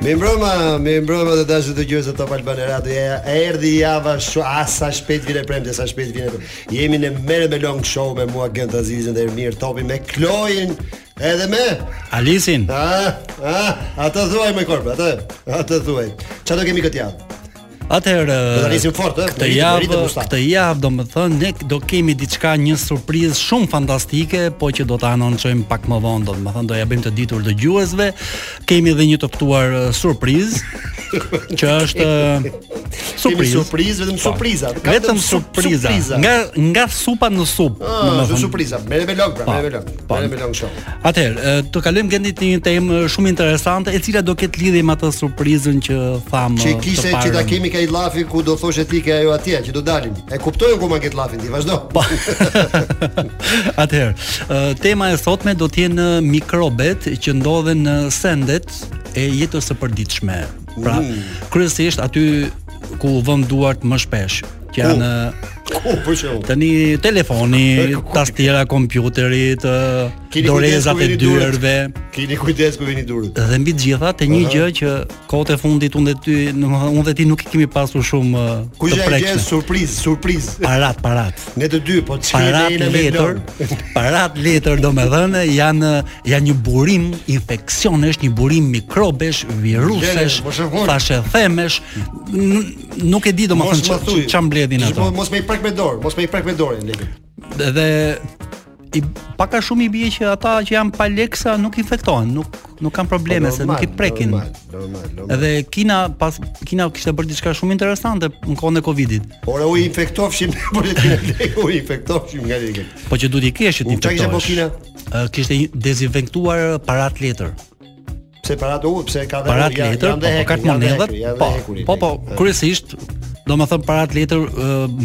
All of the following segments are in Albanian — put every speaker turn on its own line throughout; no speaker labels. Mi mbroma, mi mbroma të dashur të gjësë Top Albani Radio. Ja, erdhi java shu asa shpejt vjen e premte, sa shpejt vjen. e premte. Jemi në merë me long show me mua Gent Azizin dhe Ermir Topi me Kloin edhe me
Alisin,
Ah, ah, atë thuaj më korp, atë, atë thuaj. Çfarë do kemi këtë javë?
atëherë
Do ta nisim fort, ë?
Këtë javë, këtë javë do më thënë, ne do kemi diçka një surprizë shumë fantastike, po që do ta anoncojmë pak më vonë, do të më thënë do ja bëjmë të ditur dëgjuesve. Kemi edhe një të ftuar eh, surprizë, që është eh,
Surprizë,
surprizë. Po,
surprizë, vetëm surpriza. Ka
Vetëm
su-
surpriza.
surpriza.
Nga nga supa në sup.
Ah,
domethënë.
vetëm surpriza. Merë me long, pra,
Po,
merë me long.
po.
Merë me long show.
Atëherë, e, të kalojmë gjendit në një temë e, shumë interesante, e cila do ketë lidhje me atë surprizën që tham.
Që
e, të
kishte që
parën.
ta kemi ka i llafi ku do thoshe ti ke ajo atje që do dalim. E kuptojnë ku ma ket llafin ti, vazhdo.
Po. Atëherë, e, tema e sotme do të jenë e, mikrobet që ndodhen në sendet e jetës së përditshme. Pra, kryesisht aty ku vëm duart më shpesh, që janë e,
Ku për shembull.
tani telefoni, tastiera, kompjuteri,
Keni kujdes ku
dorezat e
vini duart.
dyerve.
Keni kujdes ku vini durët.
dhe mbi të gjitha te një gjë që kohët e fundit unë dhe ty, domethënë unë dhe ti nuk i kemi pasur shumë ë,
Ku
të
gjë e gjë
prekshme.
surprizë, surprizë.
Parat, parat.
Ne të dy, po çfarë
Parat
jeni me
letër,
lor?
parat letër domethënë janë janë një burim infeksionesh, një burim mikrobesh, virusesh,
Lene, mos e fol.
fashë themesh, n- nuk e di
Mos
domethënë
më thuj.
ç'a mbledhin ato.
Mos- Mos më i prek me dorë, mos më i prek me dorën, Lekin.
Dhe i paka shumë i bie që ata që janë pa leksa nuk infektohen, nuk nuk kanë probleme se nuk i prekin.
Po, Normal, normal, normal.
Edhe Kina pas Kina kishte bërë diçka shumë interesante në kohën e Covidit.
Ora u po infektofshim por ne u infektofshim nga Lekin.
Po që duhet i kesh që ti
U, çka kishte
infektohesh.
bërë
Ë, Kishte i- dezinfektuar parat letër.
Pse parat u, pse ka dhe
Parat
janë-
letër,
janë
po
dhe
po
hekuri,
ka
janë dhe
monedhat.
hekuri, janë
Po,
dhe hekuri,
po po,
Lekin.
kryesisht, domethënë parat letër ë,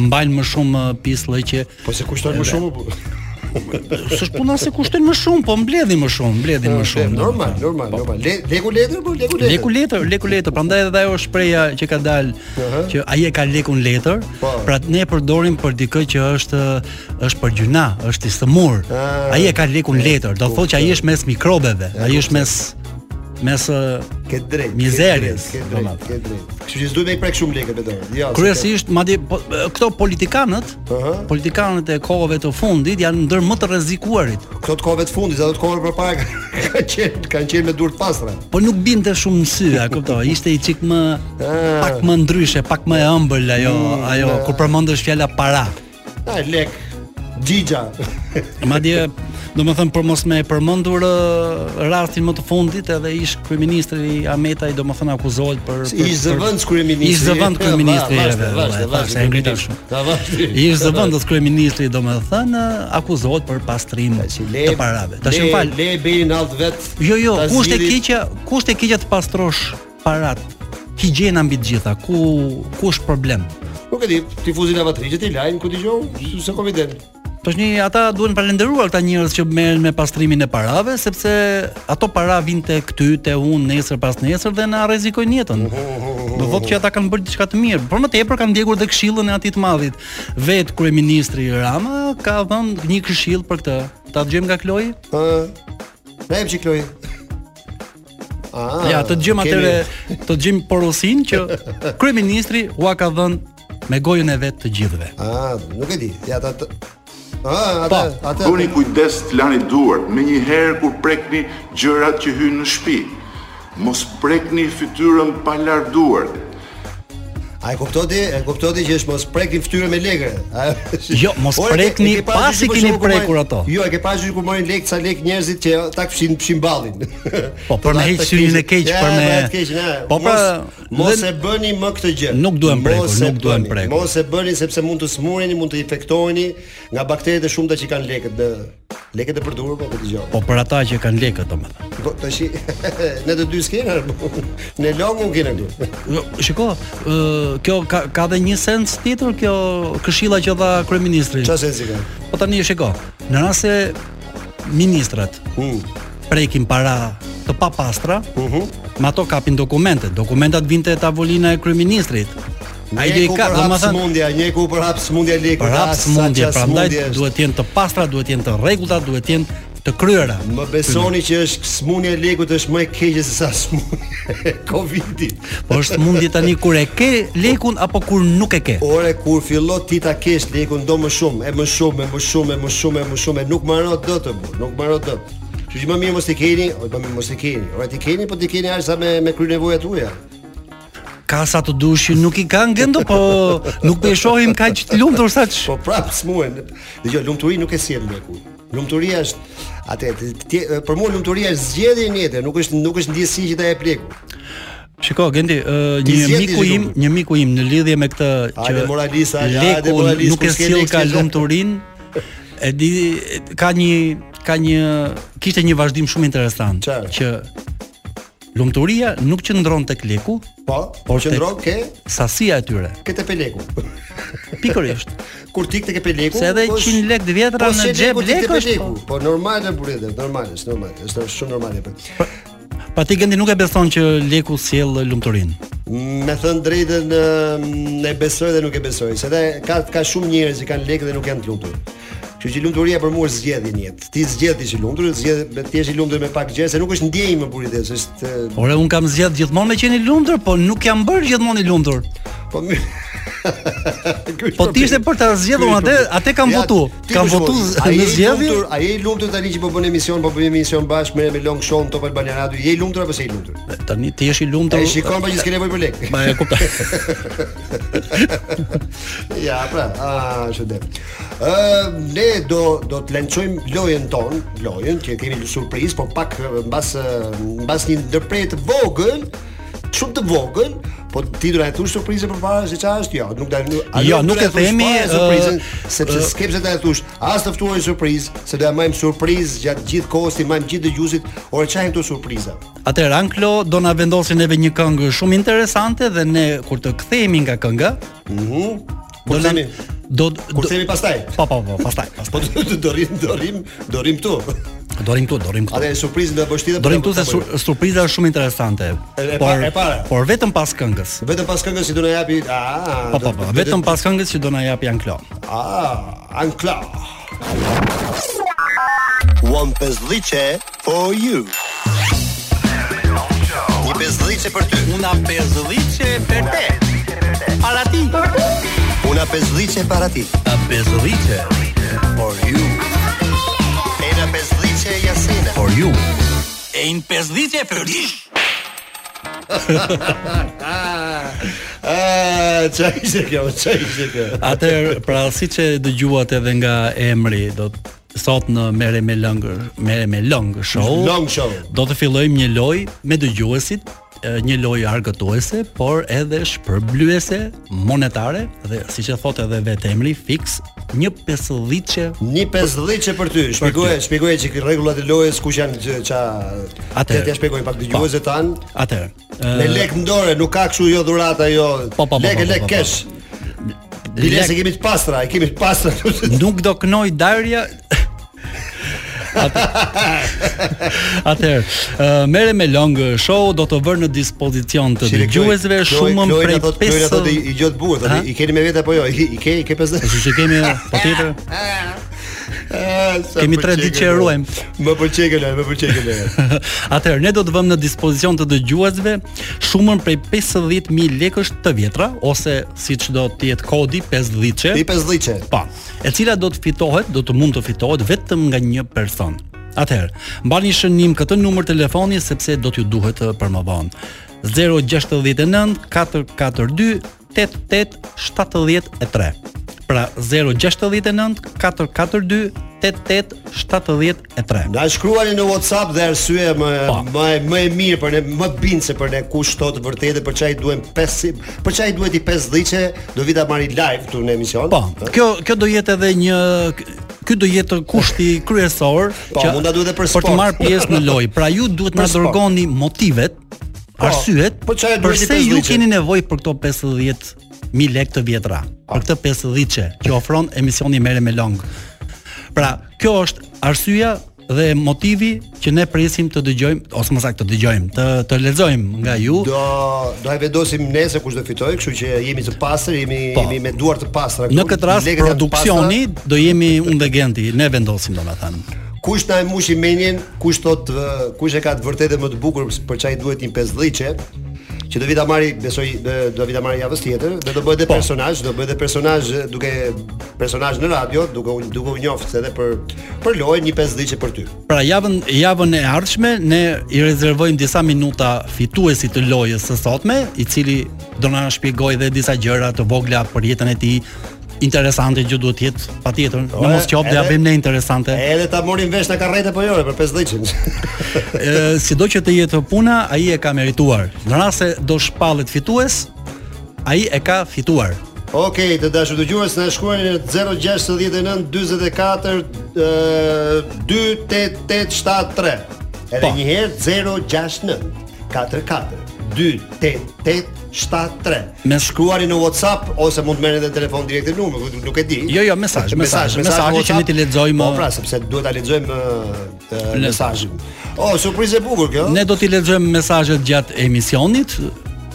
mbajnë më shumë ë, pjesë që
Po se kushton më shumë. po.
s'është puna se kushtojnë më shumë, po mbledhin më shumë, mbledhin më shumë.
Normal, normal, normal. Le- Leku letër, po leku letër.
Leku letër, leku letër, prandaj edhe ajo shpreha që ka dalë
Aha.
që ai e ka lekun letër,
Po.
pra ne e përdorim për dikë që është është për gjuna, është i sëmur.
Ah.
Ai e ka lekun letër, do thotë që ai është mes mikrobeve, ai është mes mes ë,
Ke drejt.
Mizeris,
Ke drejt.
domethënë.
Ke drejt. Kështu që s'duhet me i prek shumë lekët me dorë. Jo. se
kryesisht madje po, këto politikanët,
Aha.
politikanët e kohëve të fundit janë ndër më të rrezikuarit.
ka- Po, Këto të kohëve të fundit, ato të kohëve përpara kanë kanë qenë kanë qenë me dur të pastra.
Po nuk binte shumë në sy, a kuptoj. Ishte i çik më
Ah.
pak më ndryshe, pak më e ëmbël ajo, ajo kur përmendesh fjala para.
Ai lek. Xhixha.
Madje, domethënë për mos me e përmendur ë, rastin më të fundit edhe ish kryeministri Ametaj domethënë akuzohet për për-
Ish zëvendës kryeministri.
Ish zëvend kryeministri.
Ja,
edhe,
Vazhdo, vazhdo,
e,
vazhdo.
se e ngrita shumë. Ish zëvendës kryeministri domethënë akuzohet për pastrim të parave. Tash më fal.
Le bëjnë alt vet.
Jo, jo,
ta
kusht e
zgjidhin-
keqja, kusht e keqja të pastrosh parat. Higjiena mbi të gjitha, ku ku është problem?
Nuk e di, tifuzin lavatriçet i lajnë ku dëgjoj, s'e konfident.
Tash një ata duhen falendëruar këta njerëz që merren me pastrimin e parave, sepse ato para vinë te këty, te unë nesër pas nesër dhe na rrezikojnë jetën. Do thotë që ata kanë bërë diçka të mirë, por më tepër kanë ndjekur dhe këshillën e atit të madhit. Vet kryeministri Rama ka dhënë një këshill për këtë. Ta dëgjojmë nga Kloi?
Ë. Na jep çikloj. Ah.
Ja, të dëgjojmë
kemi-
atëre, të dëgjojmë porosin që kryeministri ua ka dhënë me gojën e vet të gjithëve.
Ah, nuk e di. Ja ta. ta-
Po.
Ah, ata, ata.
Bëni kujdes të lani duart me një herë kur prekni gjërat që hynë në shtëpi. Mos prekni fytyrën pa larë duart.
A e kuptoti? E kuptoti që është mos prekni fytyrën me lekë. A-
Jo, mos
Ore, e ke-
prekni
e ke parasysh
pasi
për
keni
shembull ku
prekur
marrin-
ato.
Jo, e ke pasur ku marrin lek, ca lek njerëzit që ta fshin fshin ballin.
Po, për me
Ta-
heq
ta
syrin e keq,
Ja,
për me-
të keq, ja.
Po, pra,
mos, mos
dhe-
e bëni më këtë gjë.
Nuk duhen
Mos
prekur,
e
nuk duhen
bëni,
prekur.
Mos e bëni sepse mund të smureni, mund të infektoheni nga bakteret e shumta që kanë lekët në lekët e përdorur po dëgjoj.
Po për ata që kanë lekë domethënë.
Po tash ne të dy skena. Ne longu kena këtu.
Jo, Shiko, ë, kjo ka ka dhe një sens tjetër kjo këshilla që dha kryeministri.
Çfarë sensi ka?
Po tani shiko, në rast se ministrat
Mm.
prekin para të papastra,
Mhm.
me ato kapin dokumentet. Dokumentat vinte te tavolina e kryeministrit. Ai do i
Njeku
ka,
për hap
domethënë
smundja, njeku për hap smundja lekut.
për pra hap
a, sa
smundje,
qa
prandaj
smundje është.
duhet të jenë të pastra, duhet të jenë të rregullta, duhet të jenë të kryera.
Më besoni që është smunja e lekut është më e keqe se sa smunja e Covidit.
Po është mundje tani kur e ke lekun apo kur nuk e ke.
Ore kur fillo ti ta kesh lekun do më shumë, e më shumë, e më shumë, e më shumë, e më shumë, e nuk më rrot dot, e burr, nuk më rrot dot. Kështu që më mirë mos i keni, o më mirë mos i keni. Ora ti keni, po ti keni as sa me me kry nevojat tuaja.
Ka sa të dushi, nuk i ka ngëndo, po nuk po e shohim kaq të lumtur sa ç.
Po prap smuen. Dgjoj, lumturi nuk e sjell leku. Lumturia është atë tje- për mua lumturia është zgjedhje e njëjtë, nuk është nuk është ndjesi që ta jep leku.
Shiko, Gendi, ë,
Ti
një
zgjedh
miku
ti
im,
zgjedh.
një miku im në lidhje me këtë që
Hajde, moralist, hajde, hajde,
leku
moralist,
nuk
kur
e
s'ke
sjell
lek,
ka
s'ke-
lumturin, e di e- ka një ka një kishte një vazhdim shumë interesant
Çfarë?
që lumturia nuk qëndron tek leku,
Po, po
Por
qëndron ke
sasia e tyre.
këtë pe leku.
Pikërisht.
Kur tik tek e pe leku,
Se edhe
po është-
100 lekë të vjetra
po
në
s'e
xhep
leku, ti
lekë
t'e pe
është.
leku.
po.
Po normale burrë, normale, është normale, është shumë normale. Po.
Pa ti Gendi nuk e beson që leku sjell lumturinë.
Me thënë drejtën ë, e besoj dhe nuk e besoj, se dhe ka ka shumë njerëz që kanë lekë dhe nuk janë të lumtur. Kështu që lumturia për mua është zgjedhje në jetë. Ti zgjedh ti që lumtur, zgjedh ti je i lumtur me pak gjë, se nuk është ndjejmë më burit, se është ë,
Ore, un kam zgjedh gjithmonë me qenë i lumtur, po nuk jam bërë gjithmonë i lumtur.
po mirë. Ky është
Po ti ishte
problemi.
për ta zgjedhur
Ky është
atë,
problemi.
atë kam votu.
ti
Kam
për shembull,
votu
a je
në
i
zgjedhje.
lumtur- A je i lumtur tani që po bën emision, po bën emision bashkë me me Long Show në Top Albania Radio? Je i lumtur apo s'e i lumtur?
Tani ti je i lumtur.
Ai shikon pa që s'ke nevojë për lekë.
Ma e kuptoj.
Ja, pra, a, që dem. Ë, ne do do të lançojmë lojën tonë, lojën që kemi një surprizë, po pak ë, mbas ë, mbas një ndërprerje të vogël, shumë të vogël, po ti do na e thush surprizën përpara se çfarë është? Jo, nuk da nuk, a
Jo,
do
nuk
na
e
thush
themi,
fare
ë,
surprizën, sepse
ë,
s'ke pse ta e thush. As të ftuaj surprizë, se do ja marrim surprizë gjatë gjithë kohës, i marrim gjithë dëgjuesit. Ora çfarë janë këto surpriza?
Atëherë Anklo do na vendosin neve një këngë shumë interesante dhe ne kur të kthehemi nga kënga,
Mhm.
do
Kur
na
themi,
do
kur
do-
themi pastaj.
Po po po, pastaj. pastaj.
Po do rrim, do rrim, do rrim këtu.
Dorim këtu, dorim këtu.
Atë surprizën do e bësh ti dhe
Dorim
po
këtu
ta
se sur,
bëjmë.
surpriza është shumë interesante.
E- e pa-
Por
e para.
por vetëm pas këngës.
vetëm pas këngës që do na japi ah
Po po po, vetëm pas këngës që do na jap Anklo.
ah ankla
150 for you. Një pesdhice për ty,
Una pesdhice për te. Para ti.
una pesdhice para ti.
A pesdhice for you.
Ena pesdhice Jasina.
For you. E in pesdhice për ti.
ah çaj ishte kjo çaj ishte kjo
Atëherë, pra siç e dëgjuat edhe nga emri, do të sot në Mere me Lëngër, Mere me Lëngë show.
long show
Do të fillojmë një lojë me dëgjuesit, e, një lojë argëtuese, por edhe shpërblyese monetare dhe siç e thot edhe vetë emri fiks, një pesëdhiçe.
Një pesdhice për ty. Shpjegoje, shpjegoje që rregullat e lojës ku janë që ça.
Atë.
t'ja shpjegoj pak dëgjuesve tan.
Atëherë, ë,
Me lek në dorë, nuk ka kështu jo dhurata jo.
Po, po, po,
Lek
po, po,
lek
po.
kesh. Bile se kemi të pastra, e kemi të pastra.
nuk do knoj darja. Atë- Atëherë, uh, merre me long show do të vërë në dispozicion të
Shire, Kloj-
dëgjuesve
Kloj-
shumën
Kloj
prej
na thot- Kloj na thot,
50.
i- i gjot bukur,
Ha?
thotë i keni me vetë apo jo? I i ke i ke pesdhice.
Kështu që kemi po tjetër.
Ah, sa
Kemi
pëlqej
tre ditë
kjo,
që e
bro.
ruajmë.
Më pëlqej kjo, lojë, më pëlqej kjo. lojë.
Atëherë ne do të vëmë në dispozicion të dëgjuesve shumën prej 50000 lekësh të vjetra ose siç do të jetë kodi 50
Ti pesdhiçe.
Pa, e cila do të fitohet, do të mund të fitohet vetëm nga një person. Atëherë, mbani shënim këtë numër telefoni sepse do t'ju duhet ë, për më vonë. 069 442 8873. Pra 069 442 8873.
Na shkruani në WhatsApp dhe arsye më
Po.
më më e mirë për ne, më bind se për ne kush thot vërtetë, për çaj duhen 5 për çaj duhet i 50 do vi ta marri live këtu në emision.
Po, kjo kjo do jetë edhe një ky do jetë kushti kryesor
Po, mund ta duhet edhe për
për të
sport.
marrë pjesë në lojë. Pra ju duhet na
Për sport.
dërgoni motivet, arsyet,
po çfarë duhet i
përse ju
50?
keni nevojë për këto 50 mi lek të vjetra,
Po.
për këtë 50 që që ofron emisioni Merre me Long. Pra, kjo është arsyeja dhe motivi që ne presim të dëgjojmë ose më saktë të dëgjojmë, të të lexojmë nga ju.
Do do e vendosim nesër kush do fitoj, kështu që jemi të pastër, jemi
Po.
jemi me duar të pastra.
Në
këtu,
këtë rast
lekët janë të pastra.
produksioni do jemi unë dhe Genti, ne vendosim domethënë.
kush na e mushi menjen, kush thot ë, kush e ka të vërtetë më të bukur për çaj duhet një pesdhiçe që do vi ta marri besoj ë, do vi ta marri javës tjetër dhe do bëhet edhe personazh, do bëhet edhe personazh ë, duke personazh në radio, duke u- duke u njoftë edhe për për lojë një pesdhiçe për ty.
Pra javën javën e ardhshme ne i rezervojmë disa minuta fituesit të lojës së sotme, i cili do na shpjegojë edhe disa gjëra të vogla për jetën e tij interesante që duhet të jetë patjetër. Në mos qoftë ja
edhe-
bëjmë ne interesante.
Edhe ta morin vesh në karrete po jore për 50
Ë, sido që të jetë puna, ai e ka merituar. Në rast se do shpallet fitues, ai e ka fituar.
Okej, të dashur dëgjues, na shkruani në 069 44 ë, 28873. Edhe
Po.
një herë 069 44 28873.
Me-
shkruani në WhatsApp ose mund të merrni edhe telefon direkt në numër, nuk- nuk e di.
Jo, jo, mesazh, mesazh, mesazhi që ne t'i lexojmë. uh,
Po, pra, sepse duhet ta lexojmë ë, ë,
Le-
mesazhin. Oh, surprizë e bukur kjo.
Ne do t'i lexojmë mesazhet gjatë emisionit,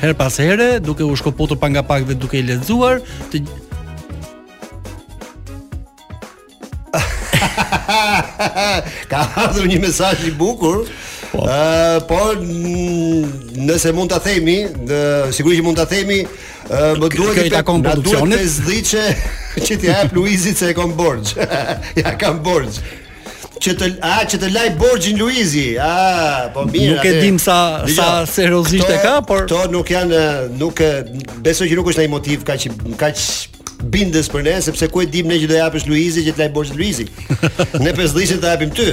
her pas here, duke u shkëputur pa nga pak dhe duke i lexuar, të
Ka ardhur një mesazh i bukur. Po, por mm, nëse mund ta themi, në- sigurisht që mund ta themi, ë, më duhet
kjo i
një pe-
takon
na duhet
produksionit.
50 që t'i jap Luizit se e kam borxh. ja kam borxh. Që të a që të laj borxhin Luizi. A, po mirë.
Nuk e
atë-
dim sa-
Dgjoj,
sa seriozisht e
këto-
ka, por-
këto nuk janë ë, nuk e- besoj që nuk është ai motiv kaq kaq bindës për ne sepse ku e dim ne që do japësh Luizi që të laj borxhin Luizi. Ne pesdhishën ta japim ty.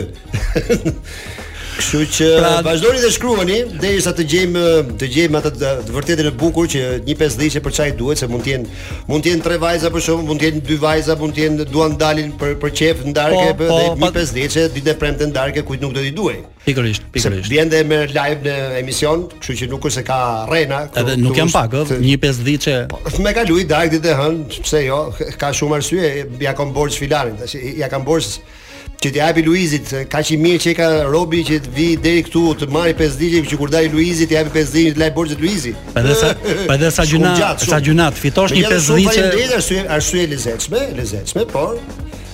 Kështu që
Pra-
vazhdoni dhe shkruani derisa të gjejmë të gjejmë atë të, të vërtetën e bukur që një pesdhishë për çaj duhet se mund të jenë mund të jenë tre vajza për shkakun, mund të jenë dy vajza, mund të jenë duan dalin për për qef ndarke
Po,
po,
po,
dhe një
pa-
pesdhishë ditë e premte ndarke kujt nuk do t'i duaj.
pikërisht,
Se
pikërisht.
vjen dhe me live në emision, kështu që nuk është se ka rrena. këtu-
Edhe nuk
këtu
jam
është-
pak, ë, një 50 që
Me kalu i dark ditë e hënë, pse jo, ka shumë arsye, ja kam borxh filanin, tash ja kam borxh që t'i japi Luizit, kaq i mirë që i ka Robi që të vi deri këtu të marri 5 ditë që kur dali Luizit t'i japi 5 ditë laj borxhet Luizit.
Pa edhe sa- pa edhe sa
Shumë
gjuna-
gjatë,
sa
shumë.
gjuna të fitosh një
Megjithatë, Shumë
50 që-
faleminderit, arsye arsye e lezetshme, e lezetshme, por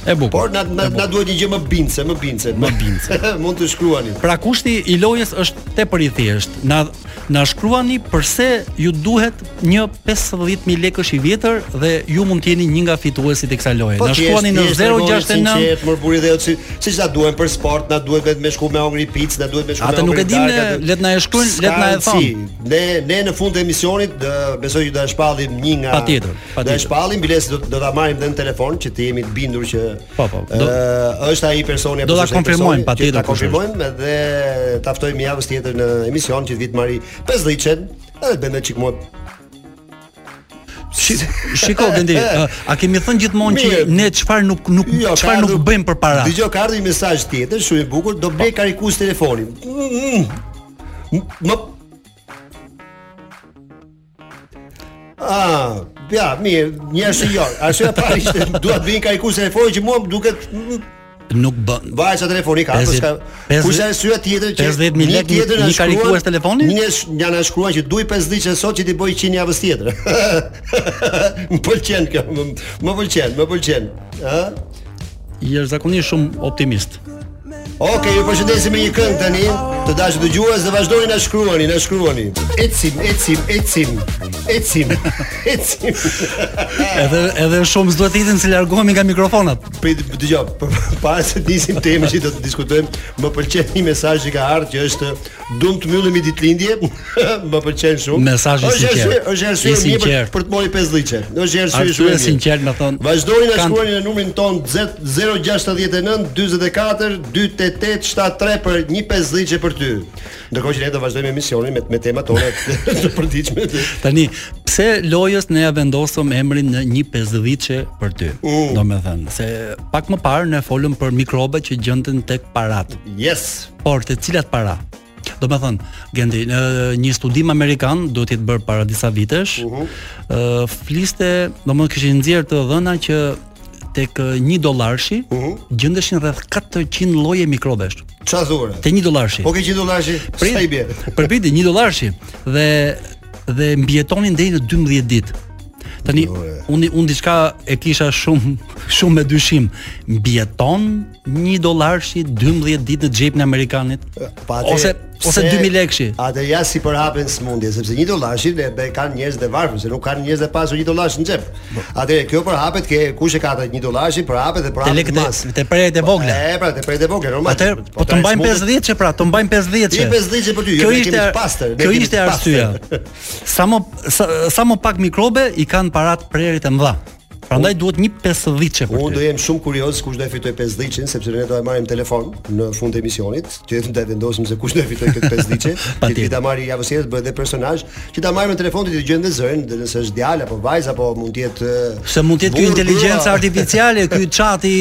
e bukur.
por na
po.
na, na duhet një gjë më bindse, më bindse, më bindse. Mund të shkruani.
Pra kushti i lojës është tepër i thjeshtë. Na na shkruani pse ju duhet një 50000 lekësh i vjetër dhe ju mund të jeni një nga fituesit e kësaj loje. na
Po thjesht,
shkruani në
thjesht, tregoni
069
sinqert, mërburi dhe si siç na duhen për sport, na duhet vetëm me shku me hongri pic, na duhet me shku
Atë
me
nuk
hongri
e dim ne,
darka, duhet-
let na e shkruajnë,
S'ka
let na e
rëndësi. Ne ne në fund të emisionit dë, besoj që do e shpallim një nga
Patjetër,
Do e
patjetër.
shpallim bilesin do, do ta marrim dhe në telefon që të jemi të bindur që
Po, po, do-
ë, është ai personi apo
Do ta
s'është ai
konfirmojmë,
personi,
patjetër,
që Ta
kush është.
konfirmojmë dhe ta ftojmë javës tjetër në emision që të vit marri 50 edhe të bëjmë çik më
Shi- Shiko Gendi, a, a kemi thënë gjithmonë që
Mirë.
ne çfarë nuk nuk
Jo, ka
çfarë nuk
ardhur-
bëjmë për para?
Dgjoj, ka ardhur një mesazh tjetër, shumë i bukur, do blej karikus telefonin. Mm, mm. Më Ah, ja, mirë, një arsye jo. Arsyeja e parë ishte dua të vinë karikus telefonin që mua më duket mm,
Nuk bën.
vajza telefoni ka, po
Pesdhet-
s'ka.
pesdhet-
Kurse arsyeja tjetër që
50.000
një
lek, një-
tjetër na
një
shkruan-
karikues telefoni?
Një sh- nga na shkruan që duaj 5 ditë sot që ti bëj 100 javës tjetër. më pëlqen kjo, më- më pëlqen, më pëlqen. Ëh?
Jashtëzakonisht shumë optimist.
Okej, ju përshëndesim me një këngë tani. Të dashur dëgjues, dhe vazhdoni na shkruani, na shkruani. Ecim, ecim, ecim. Ecim. Ecim.
Edhe edhe shumë s'duhet të jetin se largohemi nga mikrofonat.
Prit dëgjoj, për- para se të nisim temën që do të diskutojmë, më pëlqen një mesazh që ka ardhur që është dum të mbyllim i ditëlindje. më pëlqen shumë.
Mesazhi
Është
sinqert.
arsye- Është arsye
I
mirë për,
sinqert.
për të mori 5 dhëçe. Është arsye
Arsye
shumë e mirë.
sinqert, më thon.
Vazhdoni na
Kan-
shkruani në numrin ton 0- 069 44 288 73 për një 5 dhëçe për ty. Ndërkohë që ne do vazhdojmë emisionin me me temat tona të- të përditshme.
Tani, pse lojës ne ja vendosëm emrin në një pesdhiçe për ty? Mm. Do me thënë, se pak më parë ne folëm për mikrobe që gjënden tek parat,
Yes.
por të cilat para? Do me thënë, Gendi, në një studim amerikan, duhet jetë bërë para disa vitesh, uh fliste, do me thënë, kështë nëzirë të dhëna që tek eh, një dollarshi, gjëndeshin rreth 400 lloje mikrobesh.
Çfarë thua?
Te një dollarshi.
Po ke që dollashi? Sa i bie?
Përpiti 1 dollarshi dhe dhe mbietonin deri në 12 ditë. Tani
Ore.
unë unë diçka e kisha shumë shumë me dyshim. Mbijeton 1 dollarshi 12 ditë në xhepin e amerikanit?
atë-
ose ose 2000 lekëshi.
Atë ja si përhapen smundje, sepse 1 dollarshi e be kanë njerëz të varfër, se nuk kanë njerëz të pasur 1 dollarsh në xhep. Atëherë kjo përhapet ke kush e ka atë 1 dollarshi përhapet dhe
Te
përhapet
lekët
mas.
e- te prerjet e vogla.
E pra, te prerjet e vogla, normal.
Atë po të mbajmë 50 që pra, të mbajmë 50 që.
Ti 50 që për ty, jo,
Kjo
ne
ishte
kemi
ar-
të pastër, ne
Kjo
kemi
ishte
të pastër.
arsyeja. Sa më sa, sa më pak mikrobe i kanë parat prerit e mëdha. Prandaj duhet një 50 që për
Unë do
ty.
jem shumë kurioz kush do e fitoj 5 dhicin, sepse ne do e marrim telefon në fund të emisionit, që do e vendosim se kush do e fitoj këtë 5 dhicin, që ti
Patjetër.
ta marrë javës tjetër bëhet dhe personazh, që ta marrim në telefon ti dëgjojmë dhe zërin, dhe nëse është djalë apo vajzë apo mund të jetë eh,
Se mund të jetë ky
burr,
inteligjenca
grua.
artificiale, ky çati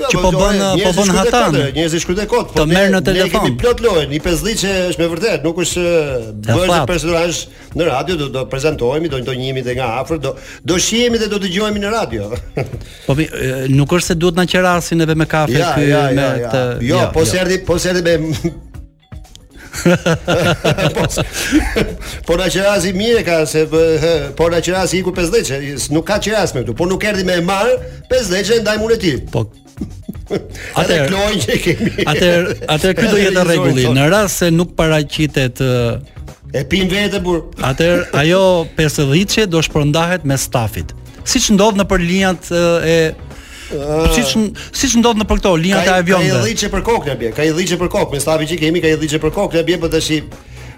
Jo,
që
po,
po
ore, njerëzit
bën po bën
shkruajnë
hatan.
kodre, Njerëzit shkruajnë kod, po
Të
ne-
merr në
Ne
telefon.
kemi plot lojën, i 5 dhicë është me vërtet, nuk është eh,
Ja,
bëhet një
fat.
personazh në radio, do do prezantohemi, do ndonjëhemi edhe nga afër, do do shihemi dhe do dëgjohemi në radio.
Po mi- e, nuk është se duhet na qerasin edhe me kafe
Ja,
ky
ja,
me
ja, ja.
të
Jo, po se erdhi, po se erdhi me po, s- po na qerasi mirë ka se bë- po na qerasi iku 50 s- nuk ka qeras me këtu, po nuk erdhi me e marr 50 ndaj unë e ti.
Po
Atë
Atëherë-
klojnë që kemi.
Atëherë, atëherë ky do
Edhe
jetë
realizorin
rregulli.
tonë.
Në rast se nuk paraqitet ë,
E pim vetë burr.
Atëherë ajo 50-çe do shpërndahet me stafit. Siç ndodh në për linjat e e siç siç ndodh në për këto
Ka
linjat e
i- ka i
avionëve.
dhicë për kokë na bie, ka i dhicë për kokë, me stafi që kemi ka i dhicë për kokë na bie, po tash i-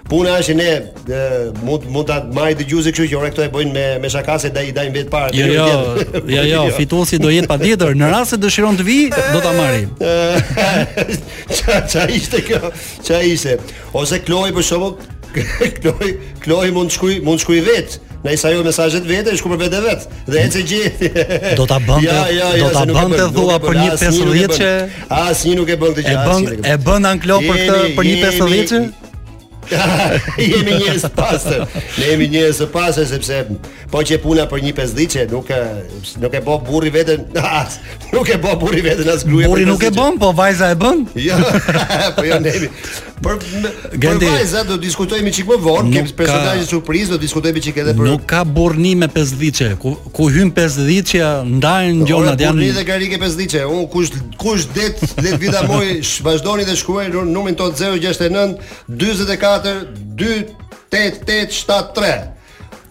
puna është që ne e, mund mund ta marrë dëgjuesi kështu që ore këto e bëjnë me me shaka se dai dajnë vetë para.
Jo, jo, jo, jo, fituesi do jetë patjetër. Në rast se dëshiron të vi, do ta marrim.
Qa, qa ishte kjo? Qa ishte? Ose Kloj për shembull, Kloj, Kloj mund të shkruaj, mund të shkruaj vet. Na i sajoj mesazhet vete, shkruaj për vete vet. Dhe ecë gjithë.
Do ta bënte- do ta
se nuk e bën,
bënte,
nuk e
thua,
bën,
për një
asnjë nuk e bën.
50 që-
asnjë nuk e bën këtë
E
gjë.
bën
asnjë nuk
e
bën.
bën anklo për këtë për një
Jemi-
50-çe?
jemi njerëz të pastër. Ne jemi njerëz të pastër sepse po që puna për një pesdhiçe nuk e nuk e bë burri veten, as, nuk e bë burri veten as gruaja.
Burri nuk e bën, po vajza e bën.
Jo, po jo nemi. Për për
Gandhi.
vajza do diskutojmë çik më vonë,
Nuk
kemi
ka-
personazhe surprizë, do diskutojmë çik edhe për
Nuk ka burrni me 50-çe. Ku ku hyn 50-çja ndajnë
Ora,
gjonat
po
janë
rritë e karike pesdiçe. Un kush kush det 10 vita moj, sh- vazhdoni të shkruaj në numrin ton 069 44 28873.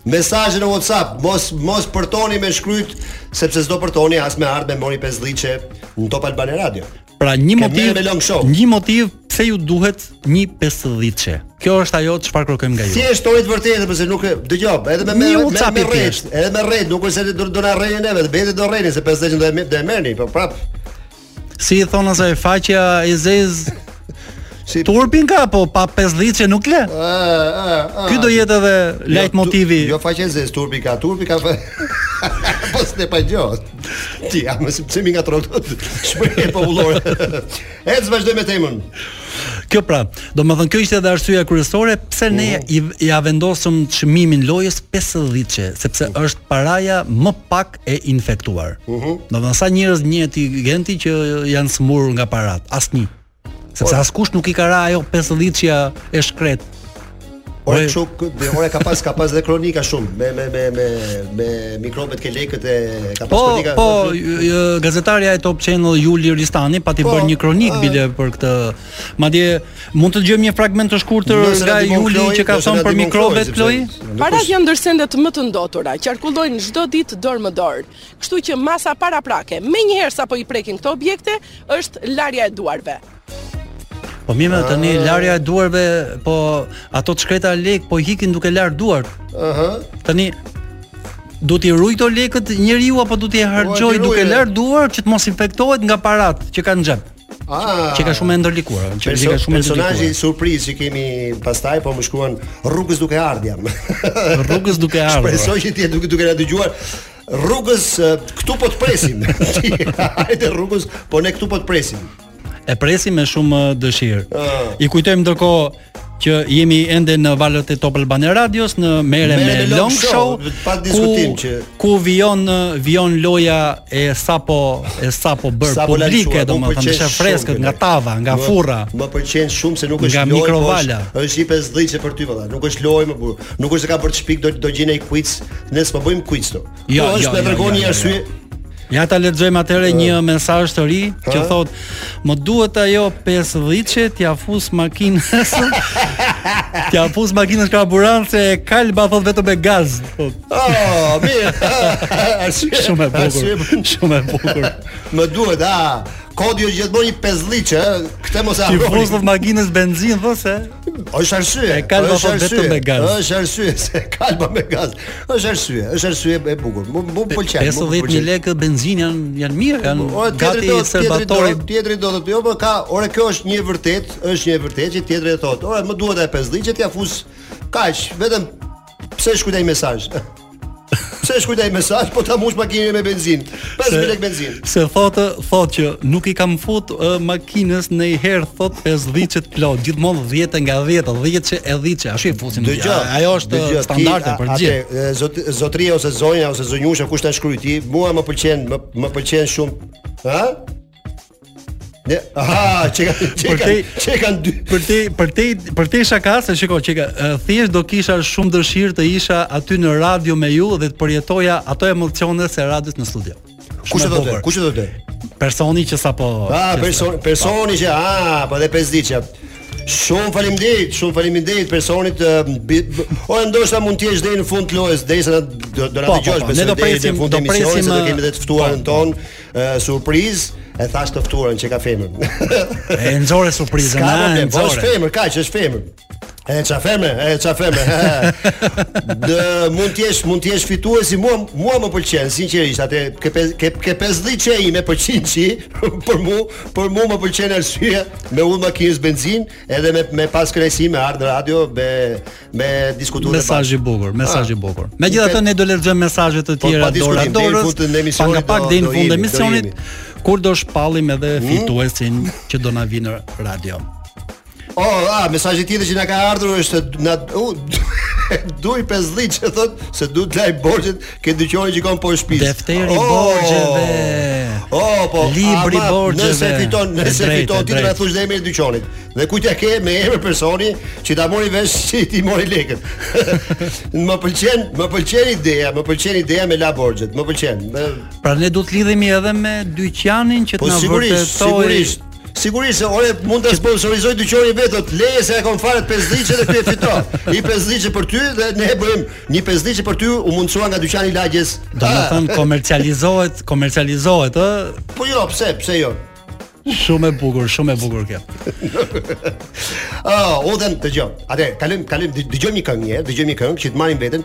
Mesazhe në WhatsApp, mos mos përtoni me shkryt sepse s'do përtoni as me ardh me mori pesdhiçe në Top Albane Radio.
Pra një
Ke
motiv,
merre me long show.
një motiv pse ju duhet një 50-çe. Kjo është ajo çfarë kërkojmë nga ju.
Thjesht tori të vërtetë, pse nuk e- dëgjoj, edhe me me
Një
me, me,
WhatsApp i
rrejt,
thjesht.
edhe me rrejt, nuk është se do do na rrejnë neve, bëhet do rrejnë se 50 do e me- do e merrni, po prap.
Si i thonë asaj faqja e zez
Si
turpin ka, po pa 50-çe nuk le.
Ë, ë, ë.
Ky do jetë edhe lajt
tu-
motivi.
Ah. Jo faqe zez, turpi ka, turpi ka. fa- po s'te pa gjot. Ti, a më pse mi ngatro këto? Shprehje popullore. Ec vazhdoj me temën.
Kjo pra, do më thënë kjo ishte edhe arsyeja kryesore pse ne i, ja vendosëm çmimin lojës 50-çe, sepse është paraja më pak e infektuar. Do të thënë sa njerëz njihet i genti që janë smurur nga parat, asnjë. Sepse
Po.
askush nuk i ka ra ajo 50-çja e shkret.
Ore
Ore-
çu, ore ka pas ka pas dhe kronika shumë me me me me me mikrobet ke lekët e ka pas
Po,
kronika.
po, j- j- gazetarja e Top Channel Juli Ristani pati
Po,
bërë një kronik
a-
bile për këtë. Madje mund të dëgjojmë një fragment të shkurtër
Nëse na
nga
dimon
Juli
Kloi,
që ka
nëse na
thënë për
dimon Kloi,
mikrobet
sepse
Kloi.
nuk
Parat
është-
janë ndërsendet më të ndotura, qarkullojnë çdo ditë dorë më dorë. Kështu që masa paraprake, menjëherë sapo i prekin këto objekte, është larja e duarve.
Po mirë,
Ah.
më tani larja e duarve, po ato të shkreta lek, po hikin duke lar duart.
Aha.
Tani do t'i ruaj këto lekët njeriu apo do t'i harxoj
t'i ruaj,
duke
Po, e.
lar duart që të mos infektohet nga parat që kanë në xhep,
Ah.
që ka shumë e ndërlikuara, që
Perso
ka shumë e
personazhi
ndërlikuara.
surprizë që kemi pastaj po më shkruan rrugës duke ardhjam.
Rrugës duke ardhur.
Shpresoj që ti e duke duke na dëgjuar rrugës eh, këtu po të presim. Ti, Hajde rrugës, po ne këtu po të presim. Ah.
E presim me shumë eh, dëshirë. I kujtojmë ndërkohë që jemi ende në valët e Top Albania Radios në Mere me
Merre me
Long
Long
Show,
Show, pa diskutim që-
ku vion vion loja e sapo e sapo bër
Sapo
publike
lançuar, mu
domethënë,
pëlqen
është e
po shumë
freskët
kjo.
nga tava, nga
Më-
furra.
Më pëlqen shumë se nuk
Nga
është lojë. po
mikrovala.
është- Është i pesdhiçe për ty valla. Nuk është lojë më burr. Nuk është se ka për të shpik do do gjeni ai quiz. Ne s'po bëjmë quiz këtu.
Jo,
Po,
jo,
është me
jo,
tregon
jo,
një
jo,
arsye.
Ja ta lexojmë atëherë një mesazh të ri që thotë, "Më duhet ajo 50-çe t'ia fus makinës." t'ia fus makinës karburant se e kalba thot vetëm me gaz. Thot,
Oh, mirë. Arsye.
Shumë e bukur.
Arsye.
Shumë e bukur.
Më duhet, a. Kodi është gjithmonë i pesdhiçe, ë. Këtë mos e
Ti
harroni.
fus thot makinës benzin thot se
Është arsye.
E kalba
është
po vetëm
arsye,
me gaz.
Është arsye se kalba me gaz. Është arsye, është arsye e bukur. Mu mu pëlqen. mu
50000
pëlqen.
lekë benzin janë janë mirë, janë
O tjetri
gati
do
serbatorit
tjetri do të thotë, jo, po ka, ore kjo është një vërtet, është një vërtet që tjetri e thotë, ore më duhet e 50 që t'ja fus kaq, vetëm pse shkruaj mesazh. Pse shkruaj mesazh, po ta mbush makinën me benzinë. 5000 lekë benzinë.
Se thotë, thotë që nuk i kam fut uh, makinës në i herë thot 50 që të plot, gjithmonë 10 nga 10, 10 që e 10 që, ashtu i fusim.
Dëgjoj.
A- Ajo është
dëgjoj,
dëgjë,
ti,
standarde
a-
për
atë,
gjithë.
e, zot, zotria ose zonja ose zonjusha kush ta shkruaj ti, mua më pëlqen, më, më pëlqen shumë, ha? Ne, aha, që kanë që
Për
kanë
te-
që kanë dy.
Për te për te për te shaka se shiko çeka uh, thjesht do kisha shumë dëshirë të isha aty në radio me ju dhe të përjetoja ato emocione se radios në studio. Shumë
Kush e
e
do të?
bukur.
Kush e do të?
Personi që sapo
Ah,
që-
person, personi që ah, po dhe pesdiçja. Shumë faleminderit, shumë faleminderit personit. eh, bi- b- O ndoshta mund të jesh deri në fund të lojës, derisa na- do do na
Po, po,
dëgjosh
po,
besoj
ne do
deri në
presim-
fund
do
të emisionit,
presim,
se do
eh,
kemi edhe të ftuarën
po, po.
ton eh, surprizë e thash të ftuarën që ka femër.
E nxore surprizën,
Ka
a,
problem, po
nxore.
është femër, kaq është femër. E ça femër, e ça femër. Dë mund të jesh, mund të jesh fituesi, mua mua më pëlqen sinqerisht, atë ke pe- ke ke 50 çe ime për 100 çi, për mua, për mua më pëlqen arsye me ullë makinës benzinë edhe me me pas krejsi me ardh radio me me diskutuar
Mesazh i bukur, mesazh i
Ah.
bukur. Megjithatë ne do lexojmë mesazhet të
Po,
tjera
pa diskutim,
dora
deri në
dorës.
fund të emisionit
nga pak
do-
deri në
do Hmm?
fund
jemi,
të
do
emisionit
jemi.
kur do shpallim edhe fituesin që do na vinë në radio.
Oh, a, mesazhi tjetër që na ka ardhur është na u duj 50 që thot se du të laj borxhet ke dyqani që kam po shtëpi.
Defteri borxheve.
Oh, po.
Libri
ama
borxheve.
Nëse fiton,
E
nëse
drejtë,
fiton
e
ti do na
drejtë.
thush dhe emrin e dyqanit. Dhe kujt ja ke me emër personi që ta mori vesh që ti mori lekët. më pëlqen, më pëlqen ideja, më pëlqen ideja me la borxhet, më pëlqen. Me-
Pra ne do të lidhemi edhe me dyqanin që të
Po
na
sigurisht,
vërtetoj.
sigurisht. Sigurisht se ore mund ta sponsorizoj dyqanin vetët, leje se e kam fare 50 dhe ky e fiton. I 50 për ty dhe ne e bëjmë një 50 për ty u mundsua nga dyqani i lagjes.
Do të
Ah,
thënë komercializohet, komercializohet, ë?
Po jo, pse, pse jo?
Shumë e bukur, shumë e bukur kjo.
Ah, u them dëgjoj. Atë, kalojm, kalojm, dë- dëgjojmë një këngë, një herë, dëgjojmë një këngë që të marrim veten.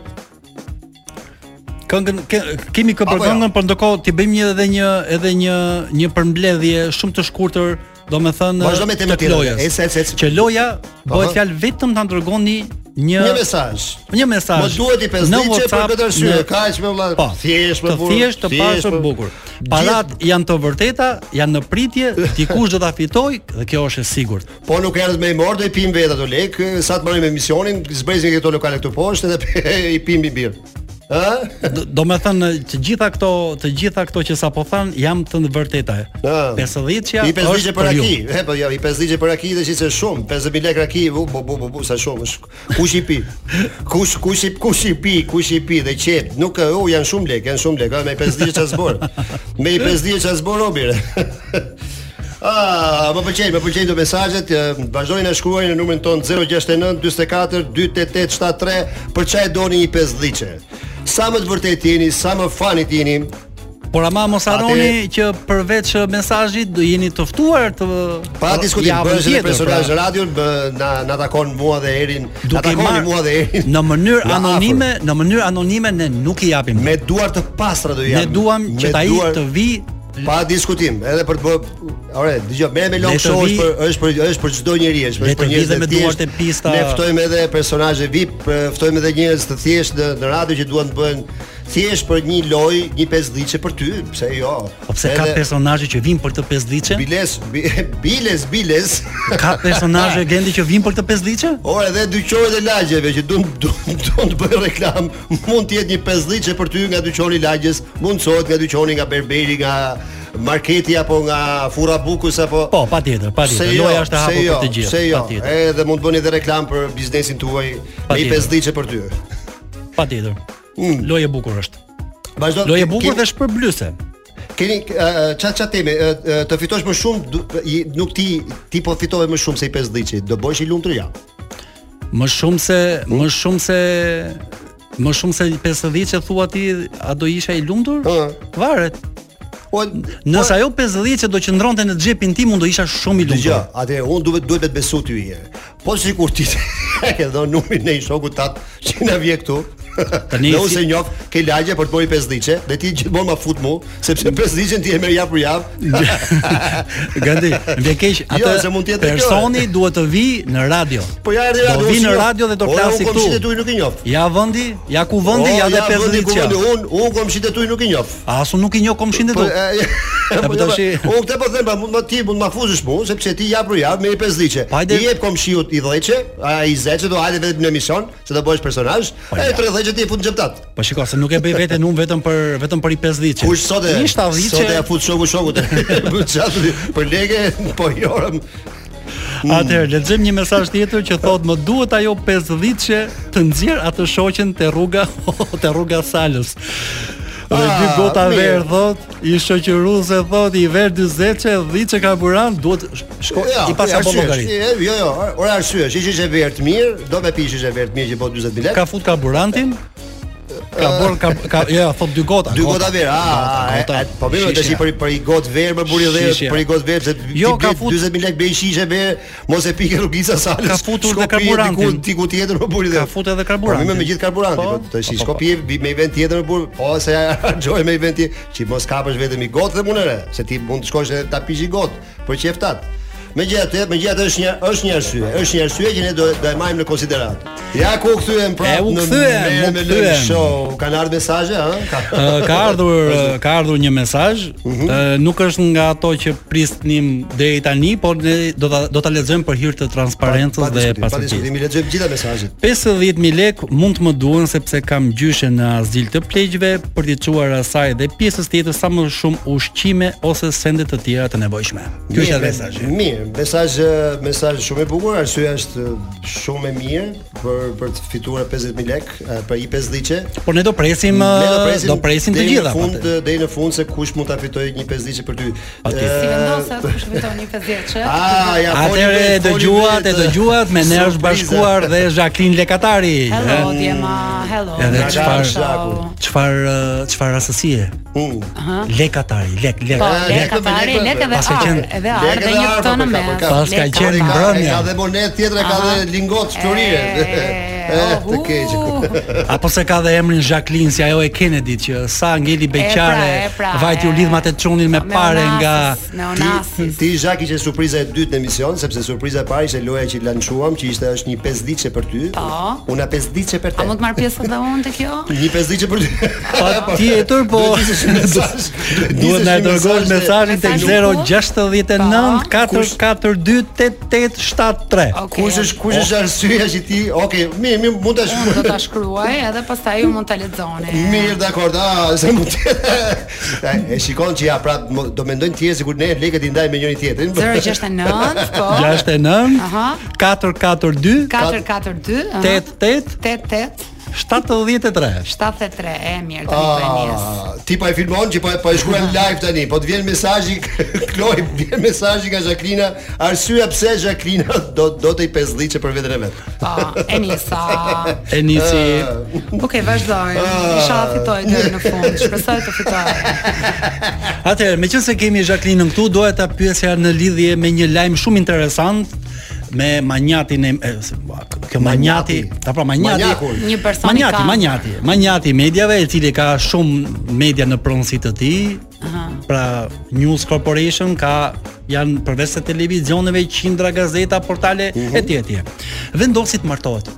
Këngën ke- kemi kë për
Apo jo?
këngën, por ndërkohë ti bëjmë një edhe një edhe një një përmbledhje shumë të shkurtër, domethënë
Vazhdo me temën
të
tjetër.
lojës.
Ec, ec, ec.
Që loja bëhet
Aha.
fjalë vetëm ta dërgoni një
Një mesazh.
Një mesazh.
Mos duhet i pesdiçe
Në
për
WhatsApp,
këtë arsye,
në-
kaq me vëlla,
Po,
thjesht më
të
burr,
Thjesht të
thjesht
pasur
më-
bukur. Parat janë të vërteta, janë në pritje, dikush do ta fitoj dhe kjo është e sigurt.
Po nuk erdhët me i morë, do i pim vetë ato lek, sa të marrim emisionin, zbrezim këto lokale këtu poshtë dhe i pim i birë. Ë?
Do, do me thënë të gjitha këto, të gjitha këto që sapo than janë të vërteta.
Ah.
50-ja
I 50
është
ligje për
ju.
aki. E po jo, i 50 ligje për aki dhe qisë shumë. 50000 lekë aki, bu bu bu bu, bu sa shumë. është. Kush i pi? Kush kush i kush i pi? Kush i pi dhe qet. Nuk u janë shumë lekë, janë shumë lekë. ë, Me 5 ligje çfarë zbor? Me i 5 ligje çfarë zbor Robir? Ah, më pëlqejnë, më pëlqejnë të mesazhet, eh, vazhdojnë të shkruajnë në numrin ton 069 44 288 73 për çfarë doni një 5 ligje. Sa më të vërtet jeni, sa më fanit jeni,
Por ama mos harroni që përveç mesazhit do jeni të ftuar të
Pa diskutim,
javën
bëhesh edhe
tjetër,
personazh
pra.
radio, bë, na na takon mua dhe Erin, na
Duke
takoni
marrë
mua dhe Erin.
në mënyrë
Nga
anonime,
afër.
në mënyrë anonime ne nuk i japim.
me duar të pastra do jam.
ne duam
Me
që ta i
duar-
të vi
pa diskutim, edhe për të bë, ore, dëgjoj, merrem me
Le
long
të
show është
vi-
për është për është për çdo njerëz, është për
Le
është për
të vi
njerëz
dhe
të
me
thjeshtë.
duart e pista.
Ne ftojmë edhe personazhe VIP, e, ftojmë edhe njerëz të thjeshtë në, në radio që duan të bëhen thjesht për një lojë, një pesdhiçe për ty, pse jo?
Po pse ka personazhe që vinë për këtë pesdhiçe?
biles, bi- biles, biles.
Ka personazhe gendi që vinë për këtë pesdhiçe?
Ora edhe dyqorët e lagjeve që duan duan duan të bëjnë reklam, mund të jetë një pesdhiçe për ty nga dyqori i lagjes, mund të sohet nga dyqori nga berberi, nga marketi apo nga furra bukus apo jo,
Po, patjetër, patjetër. Loja është e hapur për të gjithë,
Se jo,
patjetër.
edhe mund të bëni edhe reklam për biznesin tuaj me
Patjetër.
një pesdhiçe për ty.
Patjetër. Lojë e bukur është.
Vazhdo.
Lojë
Mm.
e
ke-
bukur
keni-
dhe shpërblyese.
Keni çat çat teme, ë, ë, të fitosh më shumë, du- i- nuk ti ti po fitove më shumë se i pesdhiçi, do bësh i lumtur ja.
Më shumë se më shumë se më shumë se 50 që thua ti, a do isha i lumtur?
Ëh.
Varet.
Po
Nëse
po-
ajo 50 që do qëndronte në xhepin tim, unë do isha shumë i
Dëgjoj,
lumtur.
atë unë duhet duhet të të besu ty një herë. Po sikur ti e ke dhënë numrin në një shoku tat që na vje këtu.
Tani
Tani unë
si-
se njoh ke lagje për të bëri pesdhiçe dhe ti gjithmonë ma fut mu, sepse pesdhiçen ti e merr javë për javë.
Gandhi, më vjen keq atë
Jo, se mund të jetë kjo, e.
personi duhet të vi në radio.
Po ja erdhi radio.
Do
unë
vi në
si Po njoh.
radio dhe do
Ora,
klasi
Unë komshitë
këtu.
tuaj nuk i Po njoh.
Ja vendi, ja ku vendi, ja dhe 50
që.
që.
Unë unë komshitë tuaj nuk i njoh.
As unë nuk i njoh komshin e
Po
tu.
e,
po
jo,
tash i-
unë këtë po them, pa, mund ma ti mund ma fuzësh mua, sepse ti ja për javë me i pesdhiçe.
Hajde.
I jep komshiut i 10-çe, ai i 10-çe do hajde vetëm në emision, se do bësh personazh,
Po,
e
ja.
30-çe ti e fut në xheptat.
Po shiko, se nuk e bëj veten unë vetëm për vetëm për i 50 që.
Kush sot e
Një 70
sot e
që.
fut shoku shokut. Për çfarë? Për lege, po jorëm.
Atëherë lexojmë një mesazh tjetër që thotë më duhet ajo 50 që të nxjerr atë shoqen te rruga te rruga Salës. Dhe
Ah,
dy gota
mirë.
verë thot, i shoqëruese thot, i verë 40 që 10 që karburant duhet shko i pasa bon llogari.
Jo, jo, ora arsyesh, ishi që vert mirë, do me pishë që vert mirë që po 40 bilek.
Ka fut karburantin? Ka bor ka, ka ja, thot dy gota.
Dy gota verë. Ah, e- e- po mirë, tash i për për i got verë më buri dhe
Shishja.
për i got verë se
Jo, ka fut-
40000 lekë bëj shishe verë, mos e pikë rrugica salës.
Ka futur
shko
dhe
pije
karburantin.
Diku diku tjetër më buri dhe.
Ka futur edhe karburantin.
Po mirë me gjithë karburantin,
Po,
po tash
po, po,
Skopje bi- me event tjetër më buri, po se harxoj me event tjetër, që mos kapësh vetëm i got dhe mund re, se ti mund të shkosh edhe ta pish i got për qeftat. Megjithatë, megjithatë është një është një arsye, është një arsye që ne do do e marrim në konsiderat. Ja ku u kthyem
E,
prapë
u
në
kthyem,
Merë
u
me
kthyem.
Lëng Show. Kan ardhur mesazhe, ha? Ka-
Ë, ka ardhur ë, ka ardhur një mesazh, ë, nuk është nga ato që prisnim deri tani, por ne do ta do ta lexojmë për hir të transparencës
Pa
dhe
diskutim, Pa
pasurisë.
diskutim, i lexojmë gjitha mesazhet.
50000 lek mund të më duhen sepse kam gjyshe në azil të pleqve për t'i çuar asaj dhe pjesës tjetër sa më shumë ushqime ose sende të tjera të nevojshme. Ky është
Mirë,
mesazhi.
Mirë, mesazh ë, mesazh shumë i bukur, arsyeja është ë, shumë e mirë për për të fituar 50000 lekë, ë, për i 5 diçe.
Por ne do presim ë, do presim të gjitha.
Në fund
patë.
ë, deri në fund se kush mund ta fitojë një 5 diçe për ty.
Patjetër.
Si
Ë,
vendoset kush fiton një 50 që?
Ah, ja foli
Atëre
vetë,
e
foli
dëgjuat, e
vetë.
dëgjuat, me ne është
Surpriza.
bashkuar dhe Jacqueline Lekatari.
Hello,
ë,
Djema, hello.
Edhe
hello,
çfarë-
show.
Çfarë ë, çfarë rastësie?
Mm.
Lekatari, lek, lek.
Po,
Ah,
lek
lekë me
atari,
lekë,
lek edhe
pas ka
ar,
qenë-
edhe
Lek
ar
edhe
dhe një
ar, po,
këto në
ka, po,
mes.
ka.
Pas ka
lek
Ka,
qenë
atar.
mbrëm.
e
mbrëmje.
ka dhe monet tjetër, e ka
Aha.
dhe lingot shturie.
E,
Eh, të
ohu.
keq.
Apo se ka dhe emrin Jacqueline si ajo e Kennedy që sa ngeli
e
beqare,
pra,
vajti u
e.
lidh me atë çunin me pare nga
Neonasis,
Ti,
Neonasis.
ti Zhak ishe surpriza e dytë në emision, sepse surpriza e parë ishte loja që lançuam, që ishte është një pesdiçe për ty.
Po.
Una pesdiçe për
A
te.
mund të marr pjesë edhe unë te kjo?
Një pesdiçe për ty.
tjetër po
Duhet të mesazh.
duhet na dërgosh mesazhin tek
Mesazhi Po.
069
ku?
442 8873.
Okej.
Kush është kush është arsyeja që ti, okay, mirë, mirë, mund ta
Unë do
shkruaj.
ta shkruaj edhe pastaj ju mund ta lexoni.
Mirë, dakord. Ah, se mund të. E shikon që ja prap mo- do mendojnë tjerë sikur ne lekët i ndajmë me njëri tjetrin.
069, po.
69
Aha.
442
442 aha,
88
88
73.
73. E mirë, tani po e nis.
Ah, ti po e filmon që po e- po e shkruan live tani, po të vjen mesazhi Kloj, vjen mesazhi nga Jacqueline, arsyeja pse Jacqueline do do të i pesdhiçe për veten e vet.
Po, e nisa.
E nisi
Okej, vazhdojmë.
Ah.
Inshallah fitoj deri në fund. Shpresoj të fitoj.
Atëherë, me qënë se kemi Jacqueline-ën këtu, doja ta pyesja në lidhje me një lajm shumë interesant me manjatin e e, se- ua, kjo manjati,
Manjati.
ta pra manjati.
Manjakun.
Një person i
manjati,
kam.
manjati, manjati i mediave, i cili ka shumë media në pronësi të tij. Pra News Corporation ka janë përveç se televizioneve, qindra gazeta, portale etj etj. Vendosi të martohet.